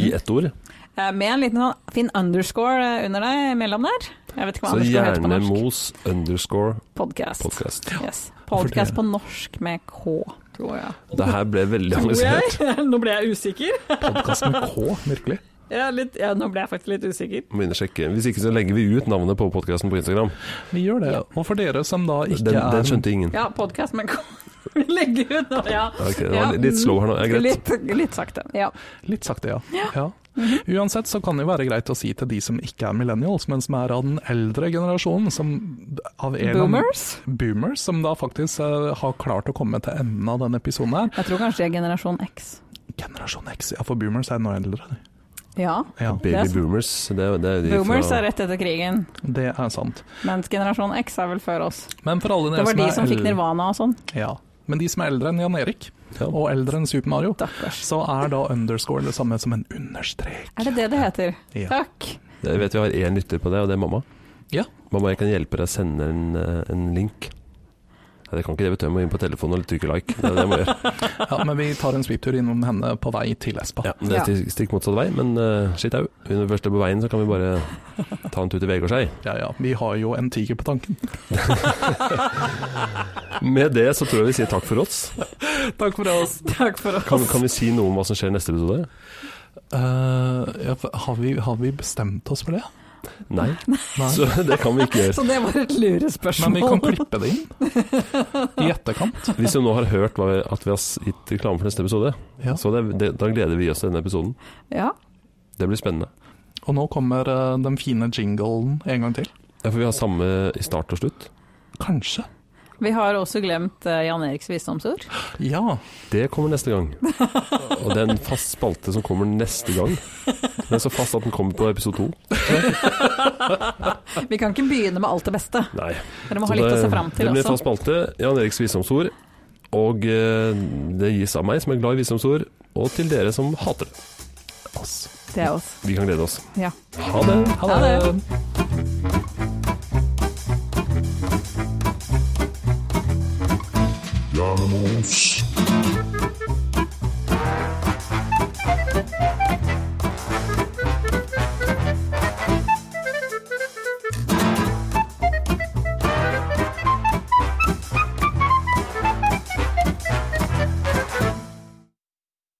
Speaker 2: I ett ord.
Speaker 3: Eh, Med en liten sånn fin underscore eh, under deg imellom der. Jeg vet ikke hva
Speaker 2: Så
Speaker 3: underscore heter på norsk.
Speaker 2: Hjernemos underscore
Speaker 3: Podcast.
Speaker 2: podcast.
Speaker 3: Yes.
Speaker 4: for det-
Speaker 3: Podcast på norsk med K, tror jeg.
Speaker 2: Det her ble veldig avansert.
Speaker 3: Nå ble jeg usikker.
Speaker 4: Podkast med K, virkelig.
Speaker 3: Jeg er litt, ja, nå ble jeg faktisk litt usikker.
Speaker 2: Må inn og sjekke. Hvis ikke så legger vi ut navnet på podkasten på Instagram.
Speaker 4: Vi gjør det.
Speaker 3: Ja.
Speaker 4: Og for dere som da ikke
Speaker 2: Den,
Speaker 4: er
Speaker 2: den skjønte ingen.
Speaker 3: Ja, podcast med K. Vi legger ut nå, ja.
Speaker 2: Ok, det
Speaker 3: Ja,
Speaker 2: var litt slow her nå. Ja, greit.
Speaker 3: Litt, litt sakte. Ja.
Speaker 4: Litt sakte, ja. ja. Uansett så kan det jo være greit å si til de som ikke er millennials, men som er av den eldre generasjonen, som av en eller annen-
Speaker 3: Boomers.
Speaker 4: Boomers, som da faktisk eh, har klart å komme til enden av denne episoden her.
Speaker 3: Jeg tror kanskje det er generasjon X.
Speaker 4: Generasjon X, ja, for boomers er nå eldre.
Speaker 3: Ja.
Speaker 4: Ja,
Speaker 3: Det er
Speaker 2: Baby
Speaker 3: så-
Speaker 2: boomers. Det, er- det er de
Speaker 3: Boomers
Speaker 2: fra-
Speaker 3: er rett etter krigen,
Speaker 4: det er sant.
Speaker 3: mens generasjon X er vel før oss.
Speaker 4: Men for alle
Speaker 3: Det
Speaker 4: dere
Speaker 3: var de som
Speaker 4: er
Speaker 3: fikk
Speaker 4: eldre,
Speaker 3: nirvana og sånn.
Speaker 4: ja. Men de som er eldre enn Jan Erik,
Speaker 2: Ja.
Speaker 4: og eldre enn Super Mario,
Speaker 3: Stakkars.
Speaker 4: så er da underscore det samme som en understrek.
Speaker 3: Er det det det heter?
Speaker 4: Ja.
Speaker 3: Takk.
Speaker 2: Jeg vet vi har én lytter på det, og det er mamma.
Speaker 4: Ja.
Speaker 2: Mamma, jeg kan hjelpe deg å sende en, eh, en link. Nei, det kan ikke det, vet du. Jeg må inn på telefonen og trykke like. Det er det jeg må gjøre.
Speaker 4: ja, men vi tar en svipptur innom henne på vei til Espa.
Speaker 2: Ja, det er stikk- stikk motsatt vei, men uh, skitt au. Når vi først er på veien, så kan vi bare ta en tur til Vegårshei.
Speaker 4: Ja, ja, vi har jo en tiger på tanken.
Speaker 2: Med det så tror jeg vi sier takk for oss.
Speaker 4: Takk for oss.
Speaker 3: Takk for oss.
Speaker 2: Kan, kan vi si noe om hva som skjer i neste episode?
Speaker 4: Eh, ja, for har, vi, har vi bestemt oss for det?
Speaker 2: Nei,
Speaker 4: Nei.
Speaker 2: så det kan vi ikke gjøre.
Speaker 3: Så det var et lurespørsmål.
Speaker 4: Men vi kan klippe det inn i etterkant.
Speaker 2: Hvis du nå har hørt hva vi, at vi har s- gitt reklame for neste episode,
Speaker 4: Ja.
Speaker 2: så det, det, da gleder vi oss til denne episoden.
Speaker 3: Ja.
Speaker 2: Det blir spennende.
Speaker 4: Og nå kommer eh, den fine jinglen en gang til.
Speaker 2: Ja, for vi har samme i start og slutt.
Speaker 4: Kanskje.
Speaker 3: Vi har også glemt eh, Jan Eriks visdomsord.
Speaker 4: Ja.
Speaker 2: Det kommer neste gang. Og det er en fast spalte som kommer neste gang. Den er så fast at den kommer på episode to.
Speaker 3: Vi kan ikke begynne med alt det beste.
Speaker 2: Nei.
Speaker 3: Dere må
Speaker 2: Så
Speaker 3: ha litt
Speaker 2: det-
Speaker 3: å se fram til
Speaker 2: Det blir en fast
Speaker 3: også.
Speaker 2: spalte. Jan Eriks visdomsord. Og eh, det gis av meg som er glad i visdomsord, og til dere som hater det.
Speaker 4: Oss.
Speaker 3: Det er oss.
Speaker 2: Vi kan glede oss.
Speaker 3: Ja.
Speaker 2: Ha det.
Speaker 3: Ha det.
Speaker 1: Hjernemos